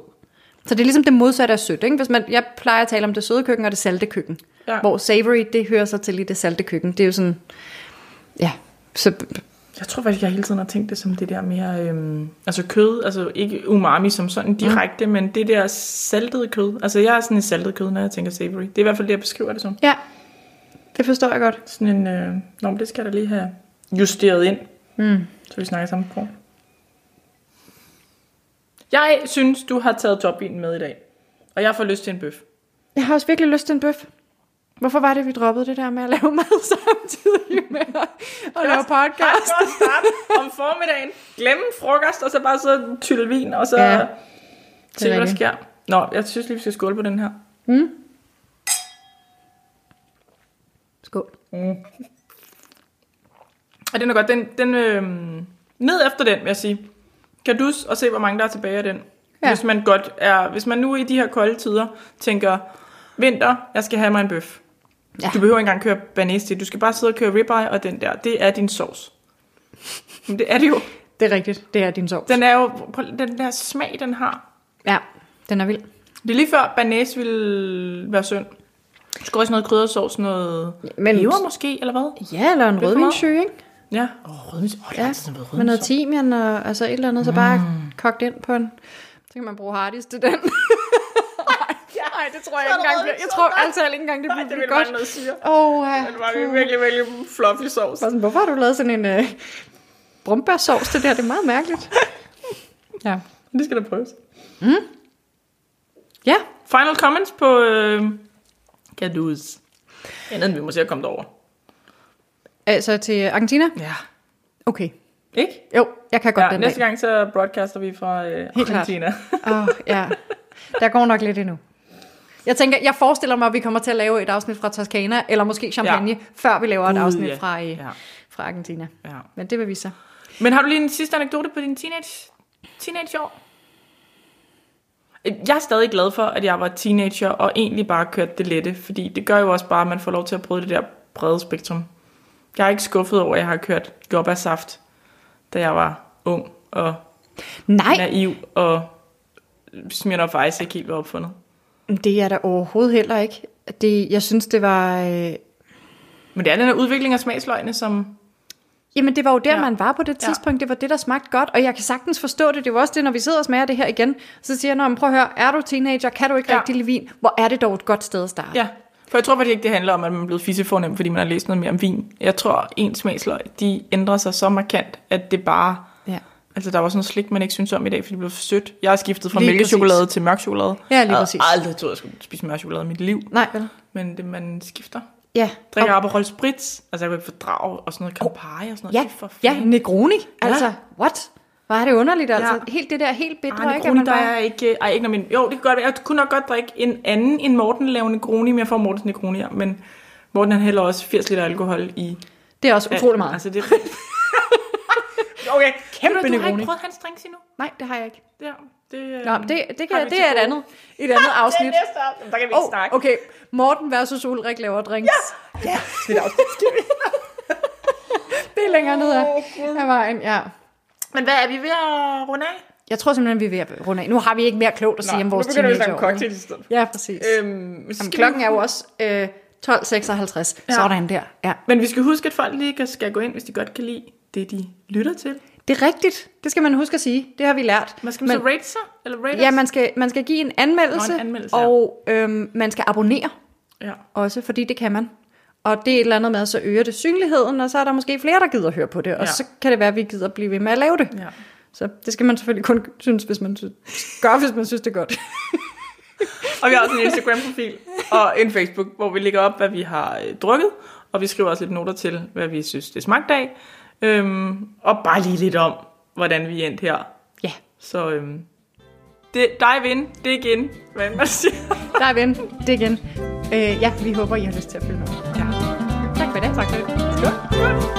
Speaker 2: Så det er ligesom det modsatte af sødt, ikke? Hvis man, jeg plejer at tale om det søde køkken og det salte køkken.
Speaker 1: Ja.
Speaker 2: Hvor savory, det hører sig til i det salte køkken. Det er jo sådan, ja, så
Speaker 1: Jeg tror faktisk, jeg hele tiden har tænkt det som det der mere... Øhm, altså kød, altså ikke umami som sådan direkte, mm. men det der saltede kød. Altså jeg er sådan en saltet kød, når jeg tænker savory. Det er i hvert fald det, jeg beskriver det som.
Speaker 2: ja, det forstår jeg godt.
Speaker 1: Sådan en... Øh, nå, men det skal jeg da lige have justeret ind,
Speaker 2: Mm.
Speaker 1: så vi snakker samme sprog. Jeg synes, du har taget topvinen med i dag. Og jeg får lyst til en bøf.
Speaker 2: Jeg har også virkelig lyst til en bøf. Hvorfor var det, vi droppede det der med at lave mad samtidig med at, at lave
Speaker 1: Ret
Speaker 2: podcast?
Speaker 1: godt start om formiddagen. Glemme frokost, og så bare sidde og tylle vin, og så
Speaker 2: Ja,
Speaker 1: ja,
Speaker 2: er
Speaker 1: se, hvad der
Speaker 2: rigtigt.
Speaker 1: sker. Nå, jeg synes lige, vi skal skåle på den her.
Speaker 2: Skål.
Speaker 1: Og den er godt. Den, den øh, ned efter den, vil jeg sige. Kan du s- og se, hvor mange der er tilbage af den.
Speaker 2: Ja.
Speaker 1: Ja. Hvis man godt er, hvis man nu i de her kolde tider tænker, vinter, jeg skal have mig en bøf.
Speaker 2: Ja.
Speaker 1: Ja. Du behøver ikke engang køre banesti, du skal bare sidde og køre ribeye, og den der, det er din sovs. Men det er det jo.
Speaker 2: Det er rigtigt. Det er din sovs.
Speaker 1: Den er jo, prøv- den der smag, den har.
Speaker 2: Ja, den er vild.
Speaker 1: Det er lige før banæs ville være synd. Du skal også noget kryddersovs, noget
Speaker 2: Men-
Speaker 1: Men... peber måske, eller hvad?
Speaker 2: Ja, eller en
Speaker 1: for
Speaker 2: rødvinssyge, ikke?
Speaker 1: Ja. Åh, oh, rødvins. Åh, oh, det
Speaker 2: Ja, med noget timian og altså et eller andet, så bare kogt ind på en. Så kan man bruge hardis til den. Nej, det tror jeg
Speaker 1: Så er
Speaker 2: ikke
Speaker 1: der
Speaker 2: engang.
Speaker 1: rødvins
Speaker 2: bliver- Jeg
Speaker 1: til
Speaker 2: tror
Speaker 1: den.
Speaker 2: altså ikke engang, det
Speaker 1: det
Speaker 2: bliver
Speaker 1: ville
Speaker 2: godt.
Speaker 1: være noget syre.
Speaker 2: Åh, ja.
Speaker 1: Det var virkelig, virkelig, virkelig fluffy sovs.
Speaker 2: Bare sådan, Hvorfor har du lavet sådan en øh, brumbærsovs til det her? Det er meget mærkeligt. Ja.
Speaker 1: Det skal da prøves.
Speaker 2: Ja,
Speaker 1: Final comments på øh, Gadus. Andet end vi må se at komme derover.
Speaker 2: altså til Argentina.
Speaker 1: Ja.
Speaker 2: Okay.
Speaker 1: Ikke?
Speaker 2: Jo, jeg kan godt
Speaker 1: Ja,
Speaker 2: den
Speaker 1: næste
Speaker 2: dag.
Speaker 1: gang så broadcaster vi fra øh,
Speaker 2: Helt klart.
Speaker 1: Argentina.
Speaker 2: Åh, oh, ja. Der går nok lidt endnu. Jeg tænker, jeg forestiller mig, at vi kommer til at lave et afsnit fra Toscana, eller måske Champagne, ja. før vi laver et
Speaker 1: Gud,
Speaker 2: afsnit
Speaker 1: ja.
Speaker 2: fra, øh,
Speaker 1: Ja.
Speaker 2: fra Argentina.
Speaker 1: Ja.
Speaker 2: Men det vil vi så.
Speaker 1: Men har du lige en sidste anekdote på din teenage, teenageår? Jeg er stadig glad for, at jeg var teenager og egentlig bare kørte det lette, fordi det gør jo også bare, at man får lov til at prøve det der brede spektrum. Jeg er ikke skuffet over, at jeg har kørt jobbasaft, da jeg var ung og
Speaker 2: Nej,
Speaker 1: naiv og Smirnoff Ice ikke helt var opfundet.
Speaker 2: det er der overhovedet heller ikke. Det, jeg synes, det var... Øh,
Speaker 1: Men det er den her udvikling af smagsløgne, som...
Speaker 2: Jamen, det var jo der, ja.
Speaker 1: Ja.
Speaker 2: man var på det
Speaker 1: Ja.
Speaker 2: tidspunkt. Ja. Det var det, der smagte godt, og jeg kan sagtens forstå det. Det var også det, når vi sidder og smager det her igen. Så siger jeg, "Nå, men prøv at høre, er du teenager, kan du ikke ja.
Speaker 1: Ja.
Speaker 2: rigtig lide vin? Hvor er det dog et godt sted at starte?
Speaker 1: Ja, for jeg tror faktisk ikke, det handler om, at man er blevet fissefornem, fordi man har læst noget mere om vin. Jeg tror, ens smagsløg, de ændrer sig så markant, at det bare
Speaker 2: Ja,
Speaker 1: Altså, der var sådan noget slik, man ikke synes om i dag, fordi det blev for sødt. Jeg har skiftet fra
Speaker 2: Lige
Speaker 1: mælkechokolade
Speaker 2: præcis.
Speaker 1: til mørk chokolade.
Speaker 2: Ja, lige
Speaker 1: jeg
Speaker 2: præcis.
Speaker 1: havde aldrig troet, jeg skulle spise mørk chokolade i mit liv.
Speaker 2: Nej, vel?
Speaker 1: Men det, man skifter.
Speaker 2: Ja.
Speaker 1: Drikker
Speaker 2: og-
Speaker 1: Aperol Spritz. Altså, jeg kunne ikke fordrage og sådan noget Campari og sådan noget.
Speaker 2: Ja,
Speaker 1: Fy for
Speaker 2: ja,
Speaker 1: fanden.
Speaker 2: Negroni. Altså, what? Var det underligt, altså.
Speaker 1: Ja.
Speaker 2: Helt det der, helt bitre,
Speaker 1: Ej,
Speaker 2: ikke? At
Speaker 1: Negroni,
Speaker 2: man
Speaker 1: der
Speaker 2: bare...
Speaker 1: er ikke... Ej, ikke når min... Jo, det kan godt være. Jeg kunne nok godt drikke en anden end Morten lave Negroni, men jeg får Mortens Negroni her. Men Morten, han hælder også 80 liter alkohol i...
Speaker 2: Det er også utrolig meget.
Speaker 1: Altså, det er... okay, kæmpe
Speaker 2: du, du har
Speaker 1: Negroni.
Speaker 2: ikke
Speaker 1: prøvet hans drinks endnu?
Speaker 2: Nej, det har jeg ikke.
Speaker 1: Ja, det... øh,
Speaker 2: Nå, men det, det,
Speaker 1: har
Speaker 2: kan,
Speaker 1: vi
Speaker 2: det
Speaker 1: til
Speaker 2: er et
Speaker 1: gode.
Speaker 2: andet, et andet afsnit.
Speaker 1: næste afsnit. Der kan vi ikke snakke.
Speaker 2: Åh, oh, okay. Morten versus Ulrik laver drinks. Ja, ja. det er længere ned ad, ad vejen, ja.
Speaker 1: Men hvad er vi ved at runde af?
Speaker 2: Jeg tror simpelthen, vi er ved at runde af. Nu har vi ikke mere klogt at sige om Øh, vores teenageår. vel?
Speaker 1: i stedet.
Speaker 2: Ja, præcis.
Speaker 1: Øhm, så
Speaker 2: Jamen,
Speaker 1: skal
Speaker 2: klokken
Speaker 1: vi...
Speaker 2: er jo også øh, 12.56. Ja. Sådan der. Ja.
Speaker 1: Men vi skal huske, at folk lige kan- skal gå ind, hvis de godt kan lide det, de lytter til.
Speaker 2: Det er rigtigt. Det skal man huske at sige. Det har vi lært.
Speaker 1: Man skal man så rate sig? Eller rate
Speaker 2: ja,
Speaker 1: os?
Speaker 2: man skal, man skal give en anmeldelse,
Speaker 1: Nå, en anmeldelse, ja.
Speaker 2: og øhm, man skal abonnere
Speaker 1: Ja.
Speaker 2: også, fordi det kan man. Og det er et eller andet med, så øger det synligheden, og så er der måske flere, der gider at høre på det, og
Speaker 1: Ja.
Speaker 2: så kan det være, at vi gider at blive ved med at lave det.
Speaker 1: ja.
Speaker 2: Så det skal man selvfølgelig kun synes, hvis man synes, gør, hvis man synes, det er godt.
Speaker 1: Og vi har også en Instagram-profil og en Facebook, hvor vi lægger op, hvad vi har øh, drukket. Og vi skriver også lidt noter til, hvad vi synes, det smagte af. Øhm, og bare lige lidt om, hvordan vi endte her.
Speaker 2: Ja,
Speaker 1: Så øhm, det, dive in, det er igen, hvad man siger.
Speaker 2: der er ven. Det igen. Øh, ja, vi håber, I har lyst til at følge med.
Speaker 1: Ja.
Speaker 2: Tak for i dag. Tak for det.
Speaker 1: Godt, godt.